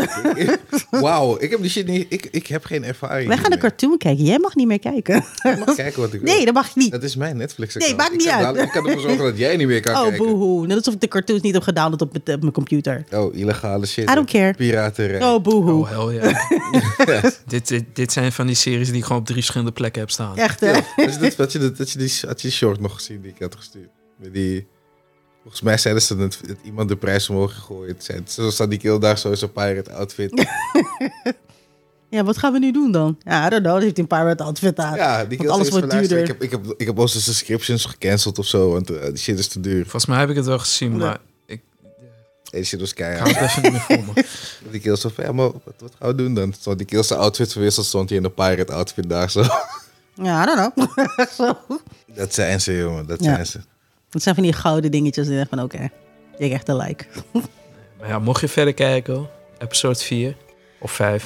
[SPEAKER 2] Wauw, ik heb die shit niet... Ik, ik heb geen ervaring.
[SPEAKER 3] Wij gaan de
[SPEAKER 2] hiermee.
[SPEAKER 3] cartoon kijken. Jij mag niet meer kijken.
[SPEAKER 2] Ik mag kijken wat ik wil.
[SPEAKER 3] Nee, dat mag niet.
[SPEAKER 2] Dat is mijn Netflix
[SPEAKER 3] Nee, maakt niet uit.
[SPEAKER 2] Ik kan ervoor zorgen dat jij niet meer kan
[SPEAKER 3] Oh,
[SPEAKER 2] kijken.
[SPEAKER 3] boehoe. Net alsof ik de cartoons niet heb gedownload op, mijn- op mijn computer.
[SPEAKER 2] Oh, illegale shit.
[SPEAKER 3] I don't care.
[SPEAKER 2] Piraterij.
[SPEAKER 3] Oh,
[SPEAKER 1] Oh,
[SPEAKER 3] boehoe.
[SPEAKER 1] hell yeah.
[SPEAKER 2] *laughs*
[SPEAKER 1] dit, dit, dit zijn van die series die ik gewoon op drie verschillende plekken heb staan.
[SPEAKER 3] Echt, hè?
[SPEAKER 2] Ja, dus dat, *laughs* had, je, dat, had, je die, had je die short nog gezien die ik had gestuurd? Met die, volgens mij zeiden ze dat, dat iemand de prijs omhoog gegooid. Zei- Zo staat die keel daar zo in zo'n pirate outfit.
[SPEAKER 3] Ja, wat gaan we nu doen dan? Ja, I don't know. Dat heeft hij een pirate outfit aan.
[SPEAKER 2] Ja, die kerel
[SPEAKER 3] alles
[SPEAKER 2] is
[SPEAKER 3] wordt
[SPEAKER 2] van, luister,
[SPEAKER 3] duurder.
[SPEAKER 2] Ik heb, ik heb, ik heb onze subscriptions gecanceld of zo, want eh, die shit is te duur.
[SPEAKER 1] Volgens mij heb ik het wel gezien, maar ik
[SPEAKER 2] En die shit was
[SPEAKER 1] kan
[SPEAKER 2] keihard.
[SPEAKER 1] het even niet meer voor *laughs* me.
[SPEAKER 2] Die keel zo van, ja, maar wat, wat gaan we doen dan? Zo, die keel zijn outfit verwisseld, stond hij in een pirate outfit daar zo. *laughs*
[SPEAKER 3] Ja, I don't know. *laughs* Zo.
[SPEAKER 2] Dat zijn ze, jongen, dat
[SPEAKER 3] Ja.
[SPEAKER 2] zijn ze.
[SPEAKER 3] Dat zijn van die gouden dingetjes. Die denken van, oké, je krijgt een like.
[SPEAKER 1] Maar ja, mocht je verder kijken, hoor. episode 4 of 5.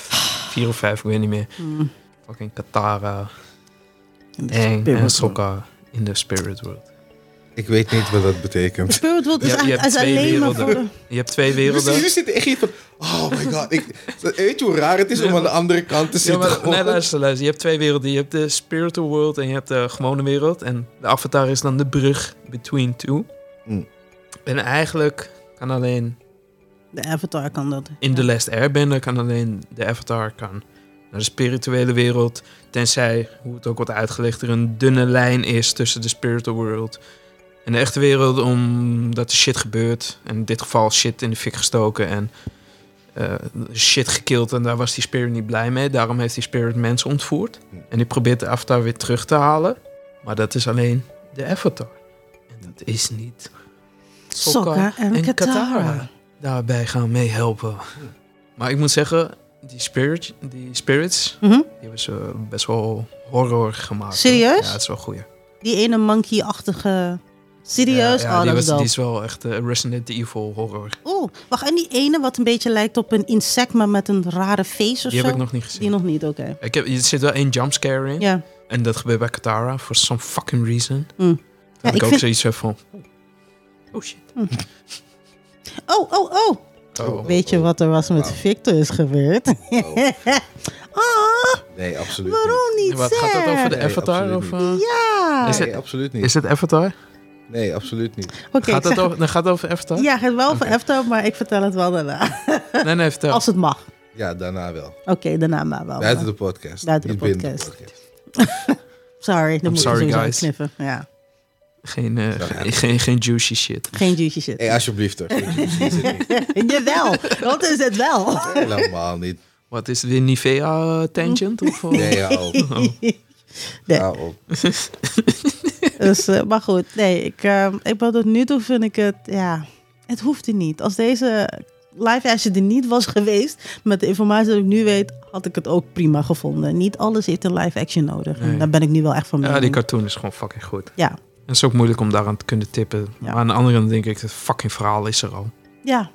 [SPEAKER 1] 4 of 5, ik weet niet meer.
[SPEAKER 3] Hmm.
[SPEAKER 1] Fucking Katara, Aang en Sokka in the spirit world.
[SPEAKER 2] Ik weet niet wat dat
[SPEAKER 3] De
[SPEAKER 2] betekent.
[SPEAKER 3] Spirit World is,
[SPEAKER 1] Je hebt- je
[SPEAKER 3] eigenlijk
[SPEAKER 1] hebt
[SPEAKER 3] is
[SPEAKER 1] twee
[SPEAKER 3] alleen maar voor...
[SPEAKER 1] werelden. Je hebt twee werelden.
[SPEAKER 2] Dus jullie zitten echt hier van, oh my god. Ik, weet je hoe raar het is om aan de andere kant te
[SPEAKER 1] Ja,
[SPEAKER 2] zitten?
[SPEAKER 1] maar, nee,
[SPEAKER 2] Gewoon.
[SPEAKER 1] luister, luister. Je hebt twee werelden. Je hebt de spiritual world en je hebt de gewone wereld. En de avatar is dan de brug between two.
[SPEAKER 2] Mm.
[SPEAKER 1] En eigenlijk kan alleen
[SPEAKER 3] De Avatar kan dat.
[SPEAKER 1] in
[SPEAKER 3] Ja.
[SPEAKER 1] The Last Airbender... kan alleen de avatar kan naar de spirituele wereld. Tenzij, hoe het ook wordt uitgelegd... er een dunne lijn is tussen de spiritual world... en de echte wereld... omdat er shit gebeurt. En in dit geval shit in de fik gestoken... en eh, shit gekild. En daar was die spirit niet blij mee. Daarom heeft die spirit mensen ontvoerd. En die probeert de avatar weer terug te halen. Maar dat is alleen de avatar. En dat is niet
[SPEAKER 3] Sokka en, Katara.
[SPEAKER 1] daarbij gaan meehelpen. Maar ik moet zeggen, die, spirit, die spirits,
[SPEAKER 3] Mhm.
[SPEAKER 1] die hebben ze best wel horror gemaakt.
[SPEAKER 3] Serieus?
[SPEAKER 1] Ja, het is wel goed.
[SPEAKER 3] Die ene monkey-achtige Serieus?
[SPEAKER 1] Ja, ja,
[SPEAKER 3] oh,
[SPEAKER 1] die,
[SPEAKER 3] dat
[SPEAKER 1] was,
[SPEAKER 3] is dope.
[SPEAKER 1] die is wel echt eh, Resident Evil horror.
[SPEAKER 3] Oeh, wacht. En die ene wat een beetje lijkt op een insect, maar met een rare face of
[SPEAKER 1] Die
[SPEAKER 3] zo?
[SPEAKER 1] heb ik nog niet gezien.
[SPEAKER 3] Die nog niet, oké.
[SPEAKER 1] Ik heb, er zit wel één jumpscare in.
[SPEAKER 3] Ja.
[SPEAKER 1] En dat gebeurt bij Katara, for some fucking reason.
[SPEAKER 3] Hm. Ja,
[SPEAKER 1] Dat
[SPEAKER 3] ik
[SPEAKER 1] ik ook
[SPEAKER 3] vind-
[SPEAKER 1] zoiets heb van... Oh shit.
[SPEAKER 3] Oh, oh, oh.
[SPEAKER 1] Oh.
[SPEAKER 3] Weet je wat er was met
[SPEAKER 2] Wauw.
[SPEAKER 3] Victor is gebeurd?
[SPEAKER 2] Oh.
[SPEAKER 3] *laughs* Ah,
[SPEAKER 2] Nee, absoluut
[SPEAKER 3] waarom niet,
[SPEAKER 1] En Wat, gaat dat
[SPEAKER 3] Zeg? Ah.
[SPEAKER 1] over de
[SPEAKER 2] Nee,
[SPEAKER 1] Avatar? Of,
[SPEAKER 2] absoluut
[SPEAKER 1] eh,
[SPEAKER 3] Ja.
[SPEAKER 1] Is
[SPEAKER 2] niet.
[SPEAKER 1] het-
[SPEAKER 2] Nee, absoluut
[SPEAKER 1] Is
[SPEAKER 2] niet.
[SPEAKER 1] het Avatar?
[SPEAKER 2] Nee, absoluut niet.
[SPEAKER 3] Oké, ik
[SPEAKER 1] gaat, het
[SPEAKER 3] zeg-
[SPEAKER 1] over, dan gaat
[SPEAKER 3] *laughs*
[SPEAKER 1] het over Avatar?
[SPEAKER 3] Ja, het wel van
[SPEAKER 1] Oké.
[SPEAKER 3] Eftel, maar ik vertel het wel daarna.
[SPEAKER 1] Nee, nee, vertel.
[SPEAKER 3] Als het mag.
[SPEAKER 2] Ja, daarna wel.
[SPEAKER 3] Oké, daarna maar wel.
[SPEAKER 2] Buiten de podcast.
[SPEAKER 3] Buiten de
[SPEAKER 2] niet binnen
[SPEAKER 3] podcast. Sorry, dan
[SPEAKER 1] I'm
[SPEAKER 3] moet je
[SPEAKER 1] sorry,
[SPEAKER 3] sowieso
[SPEAKER 1] guys.
[SPEAKER 3] knippen.
[SPEAKER 1] *laughs*
[SPEAKER 3] Ja.
[SPEAKER 1] Geen, eh,
[SPEAKER 2] Zo gaat
[SPEAKER 1] geen,
[SPEAKER 2] het.
[SPEAKER 1] geen, geen juicy shit.
[SPEAKER 3] Geen juicy shit.
[SPEAKER 2] Hey, alsjeblieft toch.
[SPEAKER 3] *laughs*
[SPEAKER 2] *laughs*
[SPEAKER 3] Jawel, dat is het wel.
[SPEAKER 1] Oh.
[SPEAKER 2] Helemaal niet.
[SPEAKER 1] Wat is het weer Nivea eh, tangent? Of, eh?
[SPEAKER 2] Nee, hou op.
[SPEAKER 3] Nee.
[SPEAKER 2] Hou op.
[SPEAKER 3] *laughs* Dus, eh, maar goed, nee, ik, ehm, ik ben tot nu toe vind ik het, ja, het hoefde niet. Als deze live action er niet was *laughs* geweest, met de informatie die ik nu weet, had ik het ook prima gevonden. Niet alles heeft een live action nodig. En
[SPEAKER 1] Nee.
[SPEAKER 3] daar ben ik nu wel echt van
[SPEAKER 1] Ja,
[SPEAKER 3] mening.
[SPEAKER 1] die cartoon is gewoon fucking goed.
[SPEAKER 3] Ja,
[SPEAKER 1] En het is ook moeilijk om daaraan te kunnen tippen.
[SPEAKER 3] Ja.
[SPEAKER 1] Maar aan de andere kant denk ik, het fucking verhaal is er al.
[SPEAKER 3] ja.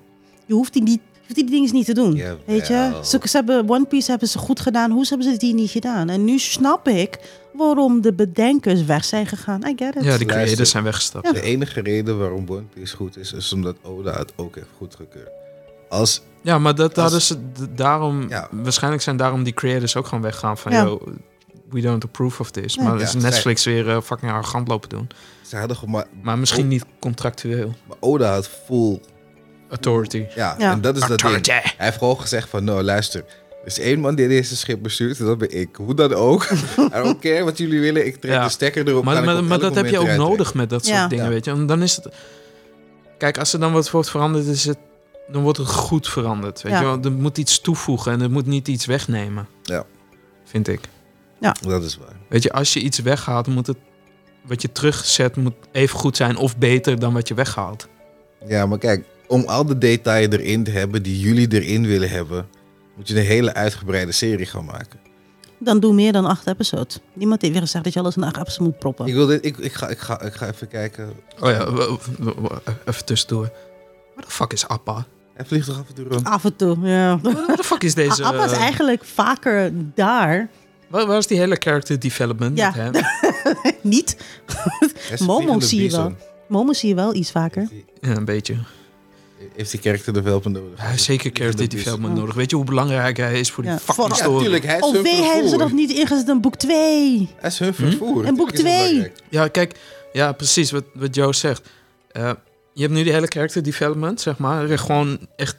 [SPEAKER 3] Je hoeft die, niet, je hoeft die dingen niet te doen.
[SPEAKER 2] Jawel.
[SPEAKER 3] Weet je, ze, ze hebben One Piece hebben ze goed gedaan. Hoe hebben ze die niet gedaan? En nu snap ik waarom de bedenkers weg zijn gegaan. I get it.
[SPEAKER 1] Ja, die
[SPEAKER 2] Luister.
[SPEAKER 1] creators zijn weggestapt.
[SPEAKER 2] De enige reden waarom One Piece goed is, is omdat Oda het ook heeft goedgekeurd. Als,
[SPEAKER 1] Ja, maar dat, dat
[SPEAKER 2] Als-
[SPEAKER 1] is het- d- daarom,
[SPEAKER 2] Ja.
[SPEAKER 1] waarschijnlijk zijn daarom die creators ook gewoon weggaan van,
[SPEAKER 3] Ja.
[SPEAKER 1] yo, we don't approve of this.
[SPEAKER 3] Nee.
[SPEAKER 1] Maar
[SPEAKER 2] Ja,
[SPEAKER 1] is
[SPEAKER 2] zij-
[SPEAKER 1] Netflix weer eh, fucking arrogant lopen doen.
[SPEAKER 2] ze hadden gewoon maar,
[SPEAKER 1] Maar misschien
[SPEAKER 2] Oh.
[SPEAKER 1] niet contractueel.
[SPEAKER 2] maar Oda had full,
[SPEAKER 1] Authority.
[SPEAKER 2] ja,
[SPEAKER 3] Ja.
[SPEAKER 2] en dat is dat ding.
[SPEAKER 1] Authority.
[SPEAKER 2] Hij heeft gewoon gezegd van, nou luister, er is één man die deze schip bestuurt en dat ben ik. Hoe dan ook, *laughs* I don't care wat jullie willen, ik trek
[SPEAKER 1] Ja.
[SPEAKER 2] de stekker erop.
[SPEAKER 1] Maar,
[SPEAKER 2] kan ik
[SPEAKER 1] maar,
[SPEAKER 2] op
[SPEAKER 1] maar
[SPEAKER 2] elk
[SPEAKER 1] dat heb je
[SPEAKER 2] moment
[SPEAKER 1] ook
[SPEAKER 2] eruit
[SPEAKER 1] nodig met dat soort
[SPEAKER 3] Ja.
[SPEAKER 1] dingen,
[SPEAKER 2] Ja.
[SPEAKER 1] weet je. En dan is het... Kijk, als er dan wat wordt veranderd, is het, dan wordt het goed veranderd, weet
[SPEAKER 3] Ja.
[SPEAKER 1] je. Want er moet iets toevoegen en er moet niet iets wegnemen.
[SPEAKER 2] Ja.
[SPEAKER 1] Vind ik.
[SPEAKER 2] trekken. Dat is waar.
[SPEAKER 1] Weet je, als je iets weghaalt, moet het... Wat je terugzet moet even goed zijn of beter dan wat je weghaalt.
[SPEAKER 2] Ja, maar kijk, om al de details erin te hebben die jullie erin willen hebben, moet je een hele uitgebreide serie gaan maken.
[SPEAKER 3] Dan doe meer dan acht episodes. Niemand heeft weer gezegd dat je alles in acht episodes moet proppen.
[SPEAKER 2] Ik, wil dit, ik, ik, ga, ik, ga, ik ga even kijken.
[SPEAKER 1] Oh ja, w- w- w- even tussendoor. What the fuck is
[SPEAKER 3] *laughs*
[SPEAKER 1] Appa?
[SPEAKER 2] Hij vliegt toch af en toe rond?
[SPEAKER 3] Af en toe, ja.
[SPEAKER 1] What the fuck is
[SPEAKER 3] *laughs*
[SPEAKER 1] deze...
[SPEAKER 3] Abba is
[SPEAKER 1] eh,
[SPEAKER 3] eigenlijk vaker daar.
[SPEAKER 1] waar, waar is die hele character development
[SPEAKER 3] Ja.
[SPEAKER 1] met hem?
[SPEAKER 3] Niet.
[SPEAKER 2] Hij is een
[SPEAKER 3] Momo
[SPEAKER 2] vliegende
[SPEAKER 3] zie je
[SPEAKER 2] bison.
[SPEAKER 3] wel. Momo zie je wel iets vaker.
[SPEAKER 1] Ja, een beetje.
[SPEAKER 2] Heeft die character development nodig?
[SPEAKER 1] Hij heeft zeker character development nodig. Weet je hoe belangrijk hij is voor die
[SPEAKER 3] Ja.
[SPEAKER 1] fucking
[SPEAKER 3] Ja,
[SPEAKER 2] Ja,
[SPEAKER 1] story?
[SPEAKER 2] natuurlijk. Hij is
[SPEAKER 3] Of
[SPEAKER 2] hun
[SPEAKER 3] wee, hebben ze
[SPEAKER 2] vervoer.
[SPEAKER 3] nog niet ingezet in boek 2.
[SPEAKER 2] Hij is
[SPEAKER 1] Hm?
[SPEAKER 2] hun vervoer.
[SPEAKER 3] En boek
[SPEAKER 2] Natuurlijk is dat
[SPEAKER 3] twee.
[SPEAKER 2] belangrijk.
[SPEAKER 1] Ja, kijk, ja, precies wat, wat Joe zegt. Eh, je hebt nu die hele character development, zeg maar. Er is gewoon echt,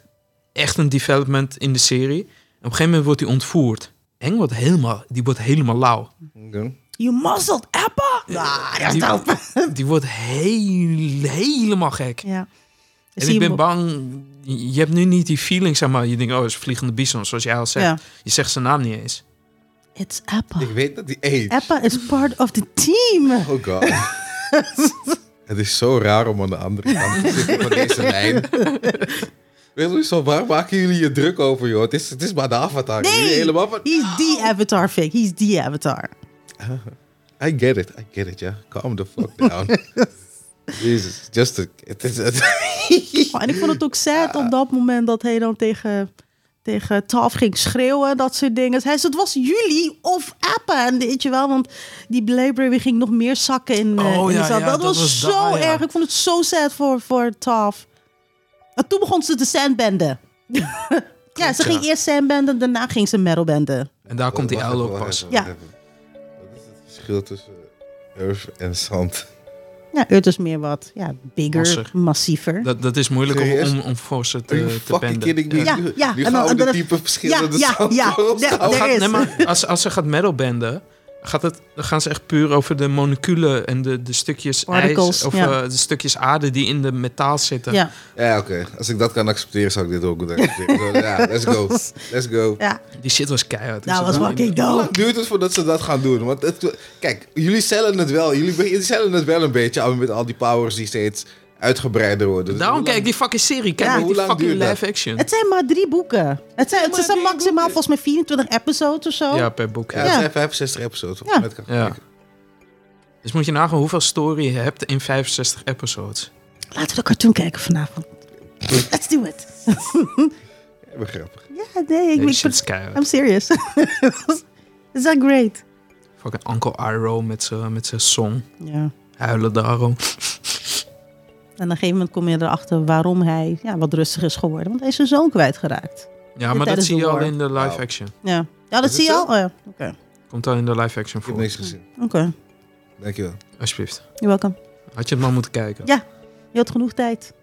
[SPEAKER 1] echt een development in de serie. En op een gegeven moment wordt hij ontvoerd. Eng wordt helemaal, die wordt helemaal lauw.
[SPEAKER 2] Oké.
[SPEAKER 3] You muzzled Appa. Ah, dat is
[SPEAKER 1] Die-
[SPEAKER 3] dope.
[SPEAKER 1] Die wordt heel, helemaal gek.
[SPEAKER 3] Ja.
[SPEAKER 1] En ik ben bang, je hebt nu niet die feeling, zeg maar. Je denkt, oh, het is een vliegende bison, zoals jij al zegt.
[SPEAKER 3] Ja.
[SPEAKER 1] Je zegt zijn naam niet eens.
[SPEAKER 3] It's Appa.
[SPEAKER 2] Ik weet dat die eet.
[SPEAKER 3] Appa is part of the team.
[SPEAKER 2] Oh
[SPEAKER 3] *laughs*
[SPEAKER 2] god. Het is zo raar om aan de andere kant te zitten van
[SPEAKER 3] *laughs*
[SPEAKER 2] deze lijn. Weet je zo, waar maken jullie je druk over, joh? Het is, het is maar de avatar. Jullie
[SPEAKER 3] Nee,
[SPEAKER 2] helemaal van...
[SPEAKER 3] he's the avatar, Vic. He's the avatar.
[SPEAKER 2] I get it, I get it, ja. Calm the fuck
[SPEAKER 3] *laughs*
[SPEAKER 2] down. Jesus, just a... Het is, het-
[SPEAKER 3] Oh, en ik vond het ook sad op dat moment dat hij dan tegen, tegen Taf ging schreeuwen, dat soort dingen. Hij zei, het was jullie of Appa. En weet je wel, want die Blackberry ging nog meer zakken in, eh,
[SPEAKER 1] Oh,
[SPEAKER 3] in de
[SPEAKER 1] ja,
[SPEAKER 3] zaal.
[SPEAKER 1] ja,
[SPEAKER 3] dat,
[SPEAKER 1] dat
[SPEAKER 3] was,
[SPEAKER 1] was
[SPEAKER 3] zo
[SPEAKER 1] daar, ja.
[SPEAKER 3] erg. Ik vond het zo sad voor, voor Taf. En toen begon ze te sandbenden. *laughs* ja, ze
[SPEAKER 1] ja.
[SPEAKER 3] ging eerst sandbenden, daarna ging ze metalbenden.
[SPEAKER 1] En daar komt die
[SPEAKER 2] Oh, Wacht
[SPEAKER 1] uil
[SPEAKER 2] even,
[SPEAKER 1] ook
[SPEAKER 2] wacht
[SPEAKER 1] pas.
[SPEAKER 2] even,
[SPEAKER 3] Ja.
[SPEAKER 2] wacht even. Wat is het verschil tussen earth en zand?
[SPEAKER 3] Ja, Earth is meer wat ja, bigger,
[SPEAKER 1] Masser.
[SPEAKER 3] massiever.
[SPEAKER 1] Dat, dat is moeilijk
[SPEAKER 2] Serieus?
[SPEAKER 1] om, om voor ze
[SPEAKER 2] Are you
[SPEAKER 1] te, te
[SPEAKER 2] fucking kidding me?
[SPEAKER 1] benden.
[SPEAKER 3] Ja,
[SPEAKER 2] Nu-
[SPEAKER 3] ja,
[SPEAKER 2] Nu gaan
[SPEAKER 3] en dan-
[SPEAKER 2] we de
[SPEAKER 3] dan-
[SPEAKER 2] type verschillende
[SPEAKER 3] ja,
[SPEAKER 2] zand
[SPEAKER 3] ja,
[SPEAKER 2] opstaan.
[SPEAKER 3] ja, Er
[SPEAKER 1] Gaat,
[SPEAKER 3] is.
[SPEAKER 1] nee, maar als, als ze gaat metalbenden, gaat het, dan gaan ze echt puur over de moleculen en de, de stukjes
[SPEAKER 3] Particles,
[SPEAKER 1] ijs of
[SPEAKER 3] ja.
[SPEAKER 1] eh, de stukjes aarde die in de metaal zitten.
[SPEAKER 3] ja.
[SPEAKER 2] Ja, oké. Als ik dat kan accepteren, zou ik dit ook moeten accepteren. Zo, ja, let's go. Let's go.
[SPEAKER 3] ja,
[SPEAKER 1] Die shit was keihard.
[SPEAKER 3] dat was Nou, fucking
[SPEAKER 2] Hoe
[SPEAKER 3] dope.
[SPEAKER 2] lang duurt het voordat ze dat gaan doen? Want het, kijk, jullie cellen het wel. Jullie, be- jullie cellen het wel een beetje aan met al die powers die steeds uitgebreider worden. Dus
[SPEAKER 1] Daarom
[SPEAKER 2] hoe lang-
[SPEAKER 1] kijk die fucking serie, kijk
[SPEAKER 3] Ja.
[SPEAKER 1] niet
[SPEAKER 2] Hoe
[SPEAKER 1] die
[SPEAKER 2] lang
[SPEAKER 1] fucking
[SPEAKER 2] duurt dat?
[SPEAKER 1] live action.
[SPEAKER 3] Het zijn maar drie boeken. Het zijn, het
[SPEAKER 2] maar
[SPEAKER 3] zijn
[SPEAKER 2] drie
[SPEAKER 3] maximaal
[SPEAKER 2] boeken.
[SPEAKER 3] volgens mij 24 episodes of zo.
[SPEAKER 1] Ja, per boek.
[SPEAKER 2] Ja,
[SPEAKER 1] Ja.
[SPEAKER 2] het
[SPEAKER 3] Ja.
[SPEAKER 2] zijn 65 episodes.
[SPEAKER 3] Ja.
[SPEAKER 2] Ja.
[SPEAKER 1] Ja. Dus moet je nagaan hoeveel story je hebt in 65 episodes.
[SPEAKER 3] Laten we de cartoon kijken
[SPEAKER 1] *laughs*
[SPEAKER 3] vanavond. Let's do it.
[SPEAKER 2] Ja, maar grappig.
[SPEAKER 3] Ja, nee, ik
[SPEAKER 1] Deze
[SPEAKER 3] ben...
[SPEAKER 1] shit is keihard.
[SPEAKER 3] I'm serious. *laughs* Is that great?
[SPEAKER 1] Fucking Uncle Iroh met zijn met zijn song.
[SPEAKER 3] Ja.
[SPEAKER 1] Huilen daarom.
[SPEAKER 3] En op een gegeven moment kom je erachter waarom hij ja, wat rustig is geworden. Want hij is zijn zoon kwijtgeraakt.
[SPEAKER 1] Ja, maar dat
[SPEAKER 3] tijdens
[SPEAKER 1] zie
[SPEAKER 3] de
[SPEAKER 1] je al
[SPEAKER 3] war.
[SPEAKER 1] in de live
[SPEAKER 2] Wauw.
[SPEAKER 1] action.
[SPEAKER 3] Ja, ja dat
[SPEAKER 2] Is
[SPEAKER 3] zie je
[SPEAKER 2] het
[SPEAKER 3] al.
[SPEAKER 2] zo?
[SPEAKER 3] Oh, ja. Oké,
[SPEAKER 1] Komt al in de live action
[SPEAKER 2] Ik heb
[SPEAKER 1] voor.
[SPEAKER 2] niks gezien.
[SPEAKER 3] oké.
[SPEAKER 2] Dankjewel.
[SPEAKER 1] Alsjeblieft.
[SPEAKER 3] You're welcome.
[SPEAKER 1] Had je het maar moeten kijken.
[SPEAKER 3] Ja. Je had genoeg tijd.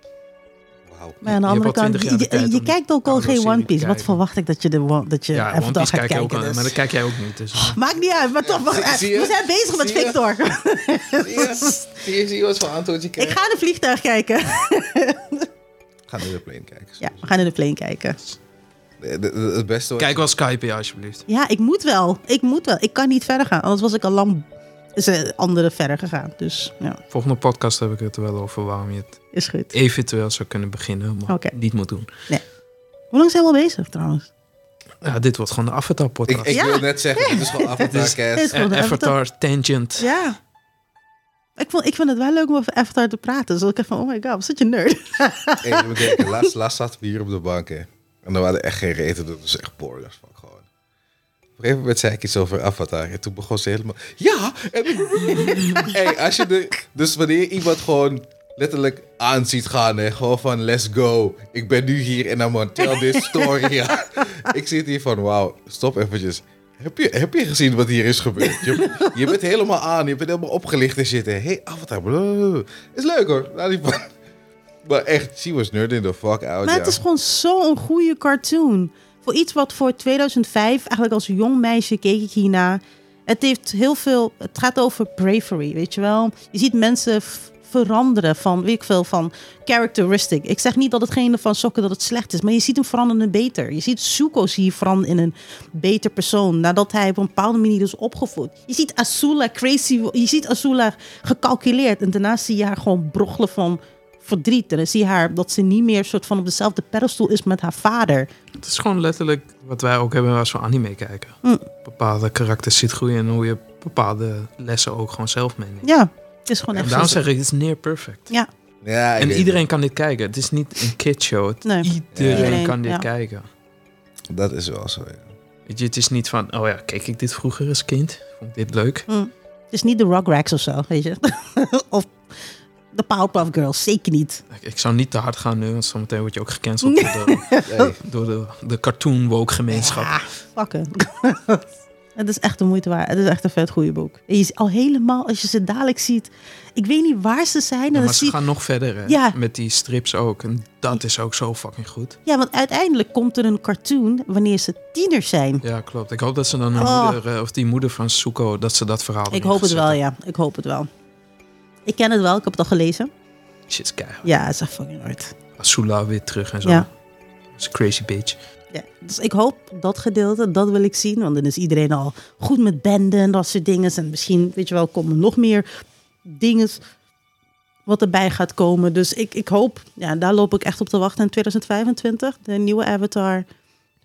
[SPEAKER 2] Wauw.
[SPEAKER 3] Maar aan de
[SPEAKER 1] Je- je
[SPEAKER 3] andere
[SPEAKER 1] hebt al
[SPEAKER 3] kant,
[SPEAKER 1] 20 jaar de
[SPEAKER 3] je,
[SPEAKER 1] tijd
[SPEAKER 3] je
[SPEAKER 1] om
[SPEAKER 3] kijkt ook al
[SPEAKER 1] oude
[SPEAKER 3] geen
[SPEAKER 1] serie
[SPEAKER 3] One
[SPEAKER 1] te
[SPEAKER 3] Piece. Wat
[SPEAKER 1] kijken.
[SPEAKER 3] verwacht ik dat je, de, one- dat je
[SPEAKER 1] Ja,
[SPEAKER 3] even
[SPEAKER 1] One
[SPEAKER 3] dan
[SPEAKER 1] Piece
[SPEAKER 3] gaat
[SPEAKER 1] kijk je
[SPEAKER 3] kijken.
[SPEAKER 1] ook al,
[SPEAKER 3] dus. Ah.
[SPEAKER 1] maar dat kijk jij ook niet. Dus,
[SPEAKER 3] Oh, Maakt niet uit, maar toch. wel- eh,
[SPEAKER 2] zie je?
[SPEAKER 3] we zijn bezig met
[SPEAKER 2] Zie je?
[SPEAKER 3] Victor.
[SPEAKER 2] Zie je, zie je wat voor antwoord je
[SPEAKER 3] *laughs* Ik ga in de vliegtuig kijken.
[SPEAKER 2] Ga naar de plane kijken.
[SPEAKER 3] Ja, we gaan in de plane kijken.
[SPEAKER 2] De- de- de- Het beste wat-
[SPEAKER 1] Kijk wel Skype, ja, alsjeblieft.
[SPEAKER 3] Ja, ik moet wel. Ik moet wel. Ik kan niet verder gaan. Anders was ik al lang is er andere verder gegaan. Dus ja,
[SPEAKER 1] Volgende podcast heb ik het er wel over waarom je het
[SPEAKER 3] is goed.
[SPEAKER 1] eventueel zou kunnen beginnen, maar
[SPEAKER 3] Oké.
[SPEAKER 1] niet moet doen.
[SPEAKER 3] Hoe lang zijn we al bezig trouwens?
[SPEAKER 1] Ja, dit wordt gewoon de
[SPEAKER 2] Ik,
[SPEAKER 1] Avatar-podcast.
[SPEAKER 2] ik
[SPEAKER 3] Ja.
[SPEAKER 2] wil net zeggen, het is gewoon
[SPEAKER 3] Dit is
[SPEAKER 2] Avatarcast.
[SPEAKER 1] Eh,
[SPEAKER 3] gewoon de
[SPEAKER 1] Avatar, Tangent.
[SPEAKER 3] Ja. Ik, vond, ik vind het wel leuk om over Avatar te praten. Zodat ik echt van, oh my god, wat zit je nerd?
[SPEAKER 2] Even bedenken, laatst, laatst zaten we hier op de bank. Hè. En er waren echt geen reten, dat was echt boring als fuck gewoon. Op een gegeven moment zei ik iets over Avatar. En toen begon ze helemaal. Ja! En, *laughs* hey, als je de, dus wanneer iemand gewoon letterlijk aan ziet gaan. Hè, gewoon van let's go. Ik ben nu hier en dan man, tell this story. *laughs* ja. Ik zit hier van wauw, stop eventjes. Heb je, heb je gezien wat hier is gebeurd? Je, je bent helemaal aan, je bent helemaal opgelicht en zitten. hey, Avatar. blablabla. Is leuk hoor. Laat die van. Maar echt, she was nerding the fuck out.
[SPEAKER 3] Maar
[SPEAKER 2] ja.
[SPEAKER 3] het is gewoon zo'n goede cartoon. Voor iets wat voor 2005, eigenlijk als jong meisje keek ik hierna. Het heeft heel veel. Het gaat over bravery, weet je wel. Je ziet mensen v- veranderen van, weet ik veel, van characteristic. Ik zeg niet dat hetgene van sokken dat het slecht is, maar je ziet hem veranderen in beter. Je ziet Zuko's hier veranderen in een beter persoon nadat hij op een bepaalde manier is opgevoed. Je ziet Azula crazy, wo- je ziet Azula gecalculeerd en daarna zie je haar gewoon broggelen van verdriet. En dan zie je haar dat ze niet meer soort van op dezelfde pedestal is met haar vader.
[SPEAKER 1] Het is gewoon letterlijk wat wij ook hebben als we anime kijken.
[SPEAKER 3] Mm.
[SPEAKER 1] Bepaalde karakters ziet groeien en hoe je bepaalde lessen ook gewoon zelf meeneemt.
[SPEAKER 3] Ja, het is gewoon
[SPEAKER 1] en
[SPEAKER 3] echt.
[SPEAKER 1] daarom
[SPEAKER 3] zo.
[SPEAKER 1] zeg ik, het is near perfect.
[SPEAKER 3] Ja,
[SPEAKER 2] Ja, ik
[SPEAKER 1] En
[SPEAKER 2] weet
[SPEAKER 1] iedereen kan dit kijken. Het is niet een kidshow. Het-
[SPEAKER 3] Nee.
[SPEAKER 1] Iedereen
[SPEAKER 3] Ja.
[SPEAKER 1] kan dit
[SPEAKER 3] Ja.
[SPEAKER 1] kijken.
[SPEAKER 2] het. Dat is wel zo,
[SPEAKER 3] *laughs*
[SPEAKER 2] ja.
[SPEAKER 1] Weet je, het is niet van, oh ja, keek ik dit vroeger als kind? Vond ik dit leuk?
[SPEAKER 3] Mm. het is niet de Rugrats of zo, weet je. *laughs* of de Powerpuff Girls, zeker niet.
[SPEAKER 1] Ik, ik zou niet te hard gaan nu, want zometeen word je ook
[SPEAKER 3] *laughs*
[SPEAKER 1] gecanceld door de,
[SPEAKER 2] Hey,
[SPEAKER 1] door de, de cartoon woke gemeenschap.
[SPEAKER 3] Ja, Nou, fucken. *laughs* Het is echt de moeite waard. Het is echt een vet goede boek. En je ziet al helemaal, als je ze dadelijk ziet. Ik weet niet waar ze zijn. En
[SPEAKER 1] Ja,
[SPEAKER 3] dan
[SPEAKER 1] maar ze
[SPEAKER 3] zie,
[SPEAKER 1] gaan nog verder hè,
[SPEAKER 3] Ja.
[SPEAKER 1] met die strips ook. En dat is ook zo fucking goed.
[SPEAKER 3] ja, want uiteindelijk komt er een cartoon wanneer ze tieners zijn.
[SPEAKER 1] Ja, klopt. Ik hoop dat ze dan hun
[SPEAKER 3] Oh.
[SPEAKER 1] moeder, eh, of die moeder van Suko, dat ze dat verhaal
[SPEAKER 3] Ik hoop het wel, ja. Ik hoop het wel. Ik ken het wel, ik heb het al gelezen.
[SPEAKER 1] Shit, is keihard.
[SPEAKER 3] Ja, het is echt fucking hard.
[SPEAKER 1] Asula weer terug en zo.
[SPEAKER 3] Ja.
[SPEAKER 1] Dat is een crazy bitch.
[SPEAKER 3] Ja, dus ik hoop dat gedeelte, dat wil ik zien. Want dan is iedereen al goed met benden en dat soort dingen. En misschien, weet je wel, komen nog meer dingen wat erbij gaat komen. Dus ik, ik hoop, ja, daar loop ik echt op te wachten in 2025. De nieuwe Avatar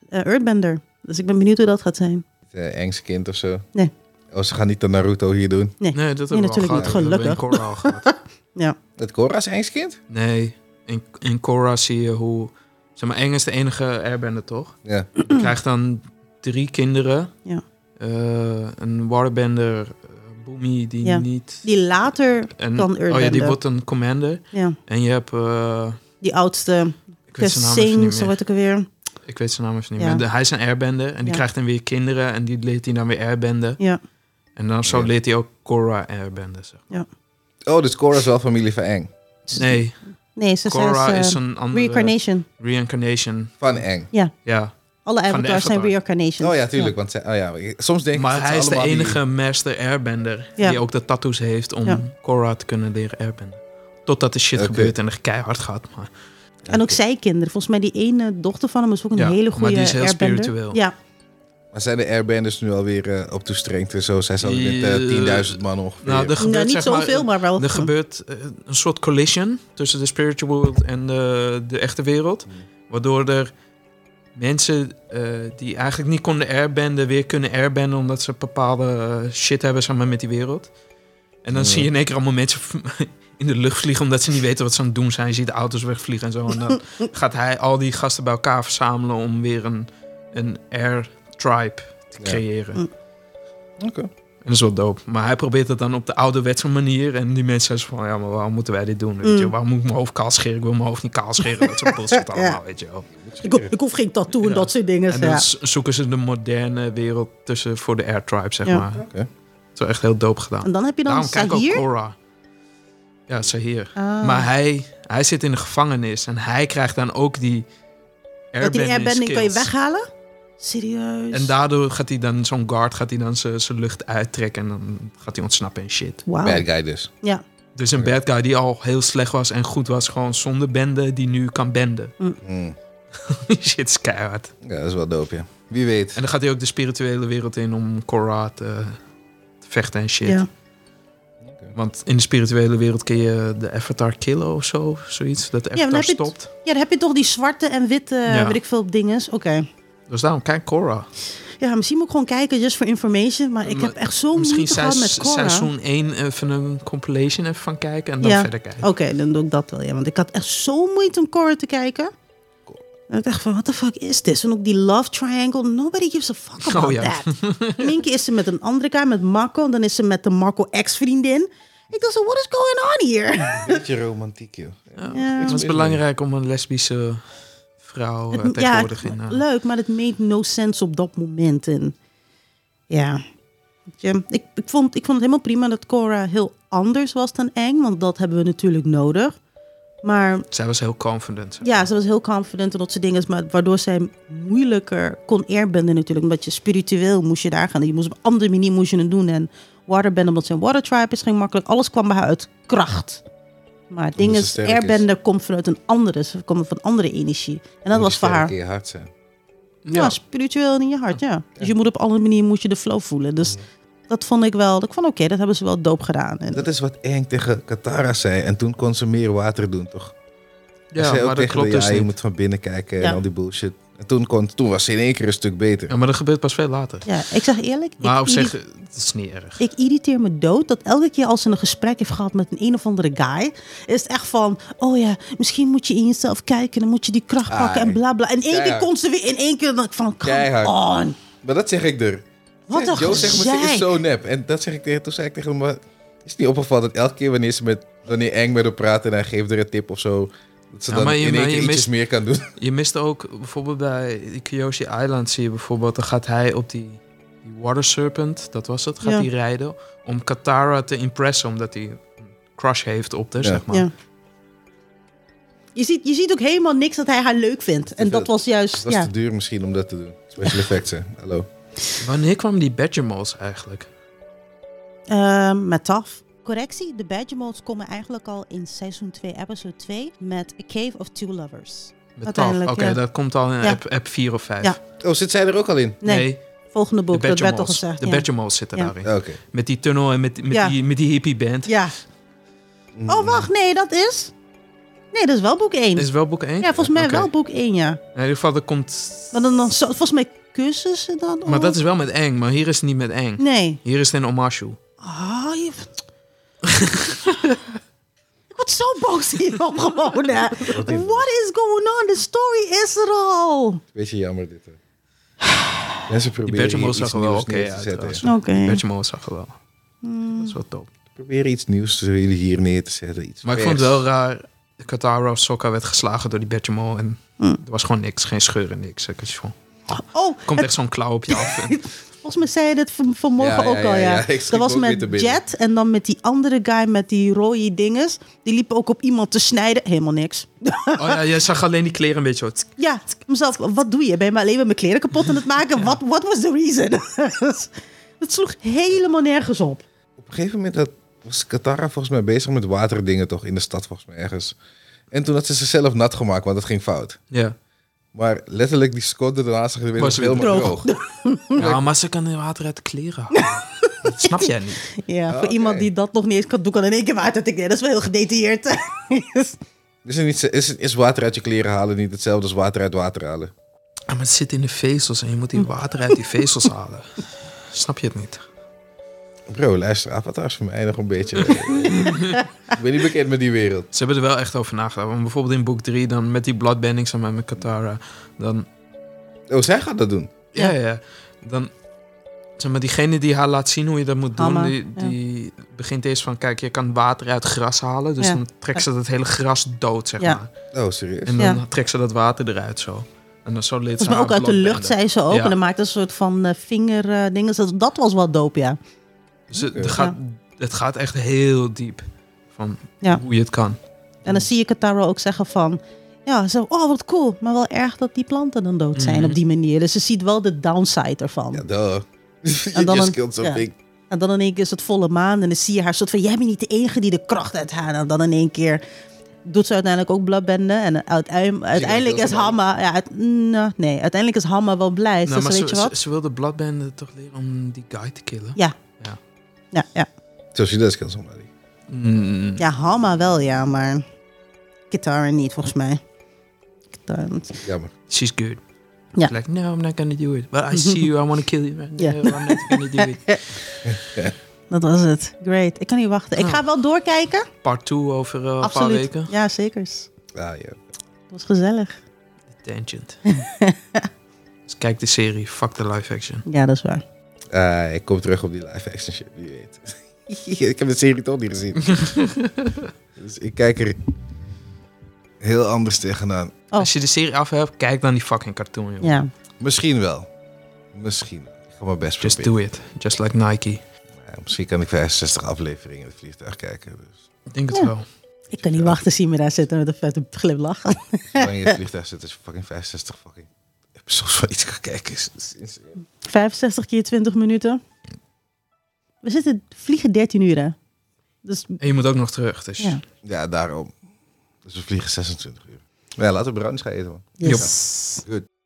[SPEAKER 3] eh, Earthbender. Dus ik ben benieuwd hoe dat gaat zijn.
[SPEAKER 2] het eh, engste kind of zo.
[SPEAKER 3] Nee.
[SPEAKER 2] Oh, ze gaan niet de Naruto hier doen.
[SPEAKER 3] Nee,
[SPEAKER 1] Nee, dat hebben we al
[SPEAKER 3] natuurlijk
[SPEAKER 1] gehad.
[SPEAKER 3] niet,
[SPEAKER 1] We hebben in
[SPEAKER 3] gelukkig.
[SPEAKER 1] Korra al gehad.
[SPEAKER 3] Ja,
[SPEAKER 2] Dat Korra is engste kind?
[SPEAKER 1] Nee, in, in Korra zie je hoe... Zeg maar, Eng is de enige airbender, toch?
[SPEAKER 2] Ja.
[SPEAKER 1] Je krijgt dan drie kinderen.
[SPEAKER 3] Mm. Ja.
[SPEAKER 1] Eh, een warbender, eh, Boomy, die
[SPEAKER 3] Ja.
[SPEAKER 1] niet...
[SPEAKER 3] die later,
[SPEAKER 1] en,
[SPEAKER 3] dan
[SPEAKER 1] Oh ja, die
[SPEAKER 3] airbender.
[SPEAKER 1] wordt een commander.
[SPEAKER 3] ja,
[SPEAKER 1] En je hebt... eh,
[SPEAKER 3] die oudste,
[SPEAKER 1] ik weet zijn naam even
[SPEAKER 3] Singh,
[SPEAKER 1] niet
[SPEAKER 3] zo
[SPEAKER 1] meer.
[SPEAKER 3] word ik er weer.
[SPEAKER 1] Ik weet zijn naam even niet
[SPEAKER 3] Ja.
[SPEAKER 1] meer. De- Hij is een airbender en die
[SPEAKER 3] Ja.
[SPEAKER 1] krijgt dan weer kinderen en die leert hij dan weer airbenden.
[SPEAKER 3] Ja,
[SPEAKER 1] En dan zo
[SPEAKER 2] Ja.
[SPEAKER 1] leert hij ook Korra airbenden. Zeg.
[SPEAKER 2] Oh, dus Korra is wel familie van Eng.
[SPEAKER 3] Dus
[SPEAKER 1] Nee,
[SPEAKER 3] nee, ze zijn
[SPEAKER 1] Korra
[SPEAKER 3] ze-
[SPEAKER 1] is een eh, andere...
[SPEAKER 3] eh, Reincarnation.
[SPEAKER 1] Reincarnation,
[SPEAKER 2] Van Eng.
[SPEAKER 1] ja.
[SPEAKER 3] Alle
[SPEAKER 1] de
[SPEAKER 3] avatars zijn
[SPEAKER 1] Avatar.
[SPEAKER 3] reincarnations.
[SPEAKER 2] Oh ja, tuurlijk. Want zij- oh, ja, ik- soms denk ik
[SPEAKER 1] Maar
[SPEAKER 2] dat ze
[SPEAKER 1] hij is de
[SPEAKER 2] allemaal die-
[SPEAKER 1] enige master airbender
[SPEAKER 3] Ja.
[SPEAKER 1] die ook de tattoos heeft om
[SPEAKER 3] Ja.
[SPEAKER 1] Korra te kunnen leren airbenden. Totdat de shit
[SPEAKER 2] Oké.
[SPEAKER 1] gebeurt en er keihard gaat. Maar
[SPEAKER 3] En ook zij kinderen. Volgens mij die ene dochter van hem is ook een
[SPEAKER 1] Ja,
[SPEAKER 3] hele
[SPEAKER 1] maar
[SPEAKER 3] goede
[SPEAKER 1] die is heel
[SPEAKER 3] airbender.
[SPEAKER 1] spiritueel.
[SPEAKER 3] Ja, Nou,
[SPEAKER 2] Maar zijn de airbenders nu alweer eh, op toestrengd en zo? Zij zijn alweer met eh,
[SPEAKER 1] Eh,
[SPEAKER 2] 10.000 man ongeveer.
[SPEAKER 1] nou, er gebeurt
[SPEAKER 3] nou, niet
[SPEAKER 1] zeg maar,
[SPEAKER 3] zoveel, maar, wel.
[SPEAKER 1] Er gebeurt eh, een soort collision tussen de spiritual world en de, de echte wereld. Waardoor er mensen eh, die eigenlijk niet konden airbenden, weer kunnen airbenden omdat ze bepaalde eh, shit hebben zeg maar, met die wereld. En dan zie je in één keer allemaal mensen *laughs* v- in de lucht vliegen omdat ze niet weten wat ze aan het doen zijn. Je ziet de auto's wegvliegen en zo. En dan gaat hij al die gasten bij elkaar verzamelen om weer een, een air tribe te
[SPEAKER 2] Ja.
[SPEAKER 1] creëren.
[SPEAKER 3] Mm.
[SPEAKER 2] Oké.
[SPEAKER 1] En dat is wel dope. Maar hij probeert het dan op de ouderwetse manier. En die mensen zijn zo van, ja, maar waarom moeten wij dit doen? Weet je?
[SPEAKER 3] Mm.
[SPEAKER 1] Waarom moet ik mijn hoofd kaal scheren? Ik wil mijn hoofd niet kaal scheren. Dat
[SPEAKER 3] *laughs*
[SPEAKER 1] soort bullshit allemaal, weet je wel.
[SPEAKER 3] Ik, ho- ik hoef geen tattoo en
[SPEAKER 1] Ja.
[SPEAKER 3] dat soort dingen.
[SPEAKER 1] En dan
[SPEAKER 3] Ja.
[SPEAKER 1] z- zoeken ze de moderne wereld tussen voor de air tribe, zeg
[SPEAKER 3] Ja.
[SPEAKER 1] maar.
[SPEAKER 2] Oké.
[SPEAKER 1] Het is wel echt heel dope gedaan.
[SPEAKER 3] En dan heb je dan
[SPEAKER 1] Daarom kijk ik ook
[SPEAKER 3] Sahir.
[SPEAKER 1] Cora. Ja, Sahir.
[SPEAKER 3] Ah.
[SPEAKER 1] Maar hij, hij zit in de gevangenis en hij krijgt dan ook die
[SPEAKER 3] dat die
[SPEAKER 1] airbending,
[SPEAKER 3] airbending kan je
[SPEAKER 1] skills.
[SPEAKER 3] weghalen? Serieus?
[SPEAKER 1] En daardoor gaat hij dan, zo'n guard, gaat hij dan zijn zijn lucht uittrekken en dan gaat hij ontsnappen en shit.
[SPEAKER 3] Wauw.
[SPEAKER 2] Bad guy dus.
[SPEAKER 3] Ja.
[SPEAKER 1] Dus een
[SPEAKER 2] Oké.
[SPEAKER 1] bad guy die al heel slecht was en goed was, gewoon zonder bende, die nu kan benden. *laughs*
[SPEAKER 2] Hmm.
[SPEAKER 1] Die shit is keihard.
[SPEAKER 2] Ja, dat is wel dope, ja. Wie weet.
[SPEAKER 1] En dan gaat hij ook de spirituele wereld in om Korra te, te vechten en shit.
[SPEAKER 3] ja.
[SPEAKER 1] Want in de spirituele wereld kun je de avatar killen of zo, zoiets. Dat de
[SPEAKER 3] maar
[SPEAKER 1] avatar
[SPEAKER 3] heb je het-
[SPEAKER 1] stopt.
[SPEAKER 3] Ja, dan heb je toch die zwarte en witte,
[SPEAKER 1] Ja.
[SPEAKER 3] weet ik veel, dinges. Oké.
[SPEAKER 1] Dus daarom, kijk
[SPEAKER 3] Oh,
[SPEAKER 1] Korra.
[SPEAKER 3] Ja, misschien moet ik gewoon kijken, just for information. Maar ik
[SPEAKER 1] Maar
[SPEAKER 3] heb echt zo
[SPEAKER 1] Misschien
[SPEAKER 3] moeite gehad met
[SPEAKER 1] seis-
[SPEAKER 3] Cora.
[SPEAKER 1] seizoen 1 even een compilation even van kijken en dan
[SPEAKER 3] Ja. Oh,
[SPEAKER 1] verder kijken.
[SPEAKER 3] Oké, dan doe ik dat wel, ja. Want ik had echt zo moeite om Cora te kijken. En ik dacht van, what the fuck is this? En ook die love triangle, nobody gives a fuck about
[SPEAKER 1] Oh, ja. *laughs*
[SPEAKER 3] that. Minky is ze met een andere guy, met Marco. En dan is ze met de Marco ex-vriendin. Ik dacht zo, what is going on here?
[SPEAKER 2] Een beetje romantiek, joh.
[SPEAKER 1] Ja.
[SPEAKER 3] Ja.
[SPEAKER 1] Het is belangrijk om een lesbische vrouw eh,
[SPEAKER 3] ja,
[SPEAKER 1] tegenwoordig in... eh,
[SPEAKER 3] leuk, maar het made no sense op dat moment. En ja, Weet je, ik, ik, vond, ik vond het helemaal prima dat Cora heel anders was dan Eng. Want dat hebben we natuurlijk nodig. Maar
[SPEAKER 1] zij was heel confident.
[SPEAKER 3] ja, ze was heel confident en dat soort dingen. Maar waardoor zij moeilijker kon airbenden natuurlijk. Omdat je spiritueel moest je daar gaan. Je moest op een andere manier moest je het doen. En waterbenden, omdat ze een water tribe is, ging makkelijk. Alles kwam bij haar uit kracht. Maar het ding
[SPEAKER 2] ze
[SPEAKER 3] is,
[SPEAKER 2] sterk is.
[SPEAKER 3] airbenden komt vanuit een andere, ze komt van andere energie. En dat was voor haar
[SPEAKER 2] Een keer hard zijn.
[SPEAKER 3] ja. spiritueel en in je hart, ja. Dus je moet op alle manieren moet je de flow voelen. Dus dat vond ik wel, ik vond oké, dat hebben ze wel doop gedaan. En,
[SPEAKER 2] Dat is wat Eng tegen Katara zei. En toen kon ze meer water doen, toch? Hij
[SPEAKER 1] Ja,
[SPEAKER 2] zei ook
[SPEAKER 1] maar dat
[SPEAKER 2] tegen
[SPEAKER 1] klopt
[SPEAKER 2] haar,
[SPEAKER 1] dus
[SPEAKER 2] ja, je
[SPEAKER 1] niet.
[SPEAKER 2] moet van binnen kijken
[SPEAKER 3] Ja.
[SPEAKER 2] en al die bullshit. En toen, kon, toen was ze in één keer een stuk beter.
[SPEAKER 1] Ja, maar dat gebeurt pas veel later.
[SPEAKER 3] ja, ik zeg eerlijk,
[SPEAKER 1] Maar
[SPEAKER 3] ik,
[SPEAKER 1] op
[SPEAKER 3] irri-
[SPEAKER 1] zich, eh, het is niet erg.
[SPEAKER 3] ik irriteer me dood dat elke keer als ze een gesprek heeft gehad met een een of andere guy, is het echt van, oh ja, misschien moet je in jezelf kijken, dan moet je die kracht
[SPEAKER 2] Ah,
[SPEAKER 3] pakken en bla bla. In één keer
[SPEAKER 2] keihard.
[SPEAKER 3] kon ze weer, in één keer dan ik van, come
[SPEAKER 2] Keihard.
[SPEAKER 3] on.
[SPEAKER 2] Maar dat zeg ik er.
[SPEAKER 3] Wat een
[SPEAKER 2] Joe zegt me, ze is
[SPEAKER 3] gezeik.
[SPEAKER 2] zo nep. En dat zeg ik tegen, toen zei ik tegen hem, maar is het niet opgevallen dat elke keer wanneer, ze met, wanneer Eng met haar praat en hij geeft er een tip of zo, dat ze
[SPEAKER 1] Ja,
[SPEAKER 2] dan
[SPEAKER 1] maar je-
[SPEAKER 2] in één
[SPEAKER 1] maar
[SPEAKER 2] keer
[SPEAKER 1] je
[SPEAKER 2] iets
[SPEAKER 1] mist-
[SPEAKER 2] meer kan doen? *laughs*
[SPEAKER 1] Je mist ook bijvoorbeeld bij Kyoshi Island zie je bijvoorbeeld, dan gaat hij op die, die Water Serpent, dat was het, gaat
[SPEAKER 3] Ja.
[SPEAKER 1] hij rijden om Katara te impressen, omdat hij een crush heeft op de,
[SPEAKER 2] Ja.
[SPEAKER 1] zeg maar.
[SPEAKER 3] Ja. Je ziet, je ziet ook helemaal niks dat hij haar leuk vindt. En dat was
[SPEAKER 2] Het
[SPEAKER 3] juist,
[SPEAKER 2] was
[SPEAKER 3] ja.
[SPEAKER 2] te duur misschien om dat te doen. Special effects, hè. Hallo.
[SPEAKER 1] Wanneer kwam die Badgermols eigenlijk?
[SPEAKER 3] Ehm, met TAF. Correctie, de badge modes komen eigenlijk al in seizoen 2, episode 2 met A Cave of Two Lovers.
[SPEAKER 1] Met Taf. Oké,
[SPEAKER 3] Uiteindelijk, ja.
[SPEAKER 1] dat komt al in
[SPEAKER 3] Ja.
[SPEAKER 1] app, app 4 of 5.
[SPEAKER 3] Ja.
[SPEAKER 2] Oh, zit zij er ook al in?
[SPEAKER 3] Nee, volgende
[SPEAKER 1] de
[SPEAKER 3] boek, dat werd al
[SPEAKER 1] Badgermols.
[SPEAKER 3] gezegd.
[SPEAKER 1] De
[SPEAKER 3] ja.
[SPEAKER 1] Badgermols zitten
[SPEAKER 3] Ja.
[SPEAKER 1] daarin.
[SPEAKER 2] Oké.
[SPEAKER 1] Met die tunnel en met, met,
[SPEAKER 3] Ja.
[SPEAKER 1] die, met die hippie band.
[SPEAKER 3] Ja.
[SPEAKER 2] Mm.
[SPEAKER 3] Oh, wacht, nee, dat is... Nee, dat is wel boek 1.
[SPEAKER 1] Is wel boek 1?
[SPEAKER 3] Ja, volgens mij
[SPEAKER 1] Oké.
[SPEAKER 3] wel boek 1, ja.
[SPEAKER 1] In ieder geval, dat komt...
[SPEAKER 3] Maar dan, dan, zo- volgens mij kussen ze dan
[SPEAKER 1] Maar
[SPEAKER 3] ook?
[SPEAKER 1] dat is wel met Eng, maar hier is het niet met Eng.
[SPEAKER 3] Nee.
[SPEAKER 1] Hier is het in Omashu.
[SPEAKER 3] Ah, je...
[SPEAKER 2] *laughs*
[SPEAKER 3] Ik word zo boos hierop gewoon, hè. What is going on? The story is er al.
[SPEAKER 2] Beetje jammer dit, hè. Mensen
[SPEAKER 1] Die
[SPEAKER 2] proberen hier
[SPEAKER 1] Badgermols
[SPEAKER 2] iets
[SPEAKER 1] zag er wel
[SPEAKER 2] nieuws
[SPEAKER 1] oké
[SPEAKER 2] neer te
[SPEAKER 1] uit.
[SPEAKER 2] zetten.
[SPEAKER 1] trouwens.
[SPEAKER 3] ja. Oké.
[SPEAKER 1] Die Badgermols zag er wel. Dat is wel top.
[SPEAKER 2] Proberen iets nieuws te willen hier neer te zetten. Iets
[SPEAKER 1] Maar ik vond het
[SPEAKER 2] vers.
[SPEAKER 1] wel raar. Katara of Sokka werd geslagen door die Badgermol. En er was gewoon niks. Geen scheuren, niks. Ik was gewoon-
[SPEAKER 2] Ah,
[SPEAKER 3] Oh,
[SPEAKER 1] Er komt echt zo'n klauw op je af. En,
[SPEAKER 3] Volgens mij zei je dat van, vanmorgen
[SPEAKER 2] Ja, ja,
[SPEAKER 3] ook al,
[SPEAKER 2] ja,
[SPEAKER 3] ja.
[SPEAKER 2] ja. Ik schiet
[SPEAKER 3] dat was
[SPEAKER 2] me ook weer te
[SPEAKER 3] met
[SPEAKER 2] binnen.
[SPEAKER 3] Jet en dan met die andere guy met die rode dinges. Die liepen ook op iemand te snijden. Helemaal niks.
[SPEAKER 1] oh ja, je zag alleen die kleren een beetje zo... tsk.
[SPEAKER 3] ja, mezelf, wat doe je? Ben je maar alleen maar mijn kleren kapot aan het *laughs* maken? What, what was the reason? *laughs* dat sloeg helemaal nergens op.
[SPEAKER 2] Op een gegeven moment had, was Katara volgens mij bezig met waterdingen toch in de stad volgens mij ergens. En toen had ze zichzelf nat gemaakt, want dat ging fout.
[SPEAKER 1] Ja.
[SPEAKER 2] Maar letterlijk die seconde daarna zag je weer
[SPEAKER 1] Was weer
[SPEAKER 2] helemaal droog. *laughs*
[SPEAKER 1] ja, maar ze kan de water uit de kleren halen. Dat snap jij
[SPEAKER 3] *laughs*
[SPEAKER 1] niet.
[SPEAKER 3] Ja, voor
[SPEAKER 2] Oké.
[SPEAKER 3] iemand die dat nog niet eens kan doen, kan in één keer water tikken. Dat is wel heel *laughs* gedetailleerd.
[SPEAKER 2] Is, er niet, is, is water uit je kleren halen niet hetzelfde als water uit water halen?
[SPEAKER 1] Ja, maar het zit in de vezels en je moet die water uit die vezels halen. Snap je het niet?
[SPEAKER 2] Bro, luister, Avatar is voor mij nog een
[SPEAKER 1] *laughs*
[SPEAKER 2] beetje... ik ben niet bekend met die wereld.
[SPEAKER 1] Ze hebben er wel echt over nagedacht. Want bijvoorbeeld in boek 3, dan met die bloodbending samen met Katara. Dan,
[SPEAKER 2] Oh, zij gaat dat doen.
[SPEAKER 1] ja,
[SPEAKER 3] Ja.
[SPEAKER 1] ja. Dan, zeg maar, diegene die haar laat zien hoe je dat moet doen,
[SPEAKER 3] Hama,
[SPEAKER 1] die,
[SPEAKER 3] ja.
[SPEAKER 1] die begint eerst van, kijk, je kan water uit gras halen. Dus
[SPEAKER 3] Ja.
[SPEAKER 1] dan trekt ze dat hele gras dood, zeg
[SPEAKER 3] Ja.
[SPEAKER 1] maar.
[SPEAKER 2] Oh, serieus?
[SPEAKER 1] En dan
[SPEAKER 3] Ja.
[SPEAKER 1] trekt ze dat water eruit zo. En dan zo leed
[SPEAKER 3] Volgens
[SPEAKER 1] ze
[SPEAKER 3] mij
[SPEAKER 1] haar
[SPEAKER 3] ook uit de lucht
[SPEAKER 1] bloodbenden.
[SPEAKER 3] zei ze ook.
[SPEAKER 1] Ja.
[SPEAKER 3] En dan maakte een soort van eh, vinger vingerdingen. dat, dat was wel dope, ja.
[SPEAKER 1] Dus het,
[SPEAKER 2] Oké.
[SPEAKER 1] het gaat, het gaat echt heel diep van
[SPEAKER 3] Ja.
[SPEAKER 1] hoe je het kan.
[SPEAKER 3] En dan zie je Katara ook zeggen van... Ja, zo, oh wat cool. Maar wel erg dat die planten dan dood zijn
[SPEAKER 1] Mhm.
[SPEAKER 3] op die manier. Dus ze ziet wel de downside ervan.
[SPEAKER 2] Ja, duh. *laughs* you
[SPEAKER 3] En dan
[SPEAKER 2] just
[SPEAKER 3] een-
[SPEAKER 2] killed something.
[SPEAKER 3] En dan in één keer is het volle maan. En dan zie je haar soort van... Jij bent niet de enige die de kracht uit haar... En dan in één keer doet ze uiteindelijk ook bladbenden. En uiteind- uiteindelijk
[SPEAKER 2] heel
[SPEAKER 3] is
[SPEAKER 2] veel
[SPEAKER 3] Hamma... Ja, uit- nou, nee, uiteindelijk is Hamma wel blij.
[SPEAKER 1] Nou,
[SPEAKER 3] dus
[SPEAKER 1] maar
[SPEAKER 3] weet
[SPEAKER 1] ze, ze,
[SPEAKER 3] je wat?
[SPEAKER 1] ze wilde Bloodband toch leren om die guy te killen?
[SPEAKER 3] Ja.
[SPEAKER 1] Ja.
[SPEAKER 3] Ja, ja.
[SPEAKER 2] So she does kill somebody.
[SPEAKER 1] Mm.
[SPEAKER 3] Ja, Hamma wel, ja, maar Kitara niet, volgens mij. Kitara, want-
[SPEAKER 2] Jammer.
[SPEAKER 1] She's good.
[SPEAKER 3] Ja.
[SPEAKER 1] She's like, no, I'm not gonna do it.
[SPEAKER 3] *laughs*
[SPEAKER 1] But I see you, I wanna kill you. No,
[SPEAKER 3] Ja.
[SPEAKER 1] I'm not gonna do it.
[SPEAKER 3] Dat was het. Great. Ik kan niet wachten. Ik
[SPEAKER 1] Ja.
[SPEAKER 3] ga wel doorkijken.
[SPEAKER 1] Part 2 over eh, een paar
[SPEAKER 3] Absoluut.
[SPEAKER 1] weken.
[SPEAKER 3] Ja, zeker. Het
[SPEAKER 2] Ah, ja.
[SPEAKER 3] was gezellig.
[SPEAKER 1] Tangent. *laughs* dus kijk de serie, fuck de live
[SPEAKER 3] *laughs*
[SPEAKER 1] action.
[SPEAKER 3] Ja, dat is waar.
[SPEAKER 2] Ah, ik kom terug op die live action shit, wie weet. *laughs* ik heb de serie toch niet gezien. dus ik kijk er heel anders tegenaan.
[SPEAKER 3] Oh.
[SPEAKER 1] Als je de serie af hebt, kijk dan die fucking cartoon, joh.
[SPEAKER 3] Ja.
[SPEAKER 2] Misschien wel. Misschien. wel. Ik ga mijn best
[SPEAKER 1] Just
[SPEAKER 2] proberen.
[SPEAKER 1] do it. Just like Nike.
[SPEAKER 2] Ja, misschien kan ik 65 afleveringen in het vliegtuig kijken. Dus
[SPEAKER 1] Ik denk het
[SPEAKER 3] Ja.
[SPEAKER 1] wel.
[SPEAKER 3] Ik kan niet wachten zien me daar zitten met een vette glimlach.
[SPEAKER 2] zolang je in het vliegtuig zit, is fucking 65 fucking episodes van iets gaan kijken. Is- is- is-
[SPEAKER 3] 65 keer 20 minuten. We zitten, vliegen 13 uur, hè? Dus
[SPEAKER 1] En je moet ook nog terug, dus...
[SPEAKER 3] ja.
[SPEAKER 2] Ja, daarom. Dus we vliegen 26 uur. Maar ja, laten we bruins gaan eten, man.
[SPEAKER 3] Yes.
[SPEAKER 2] Goed.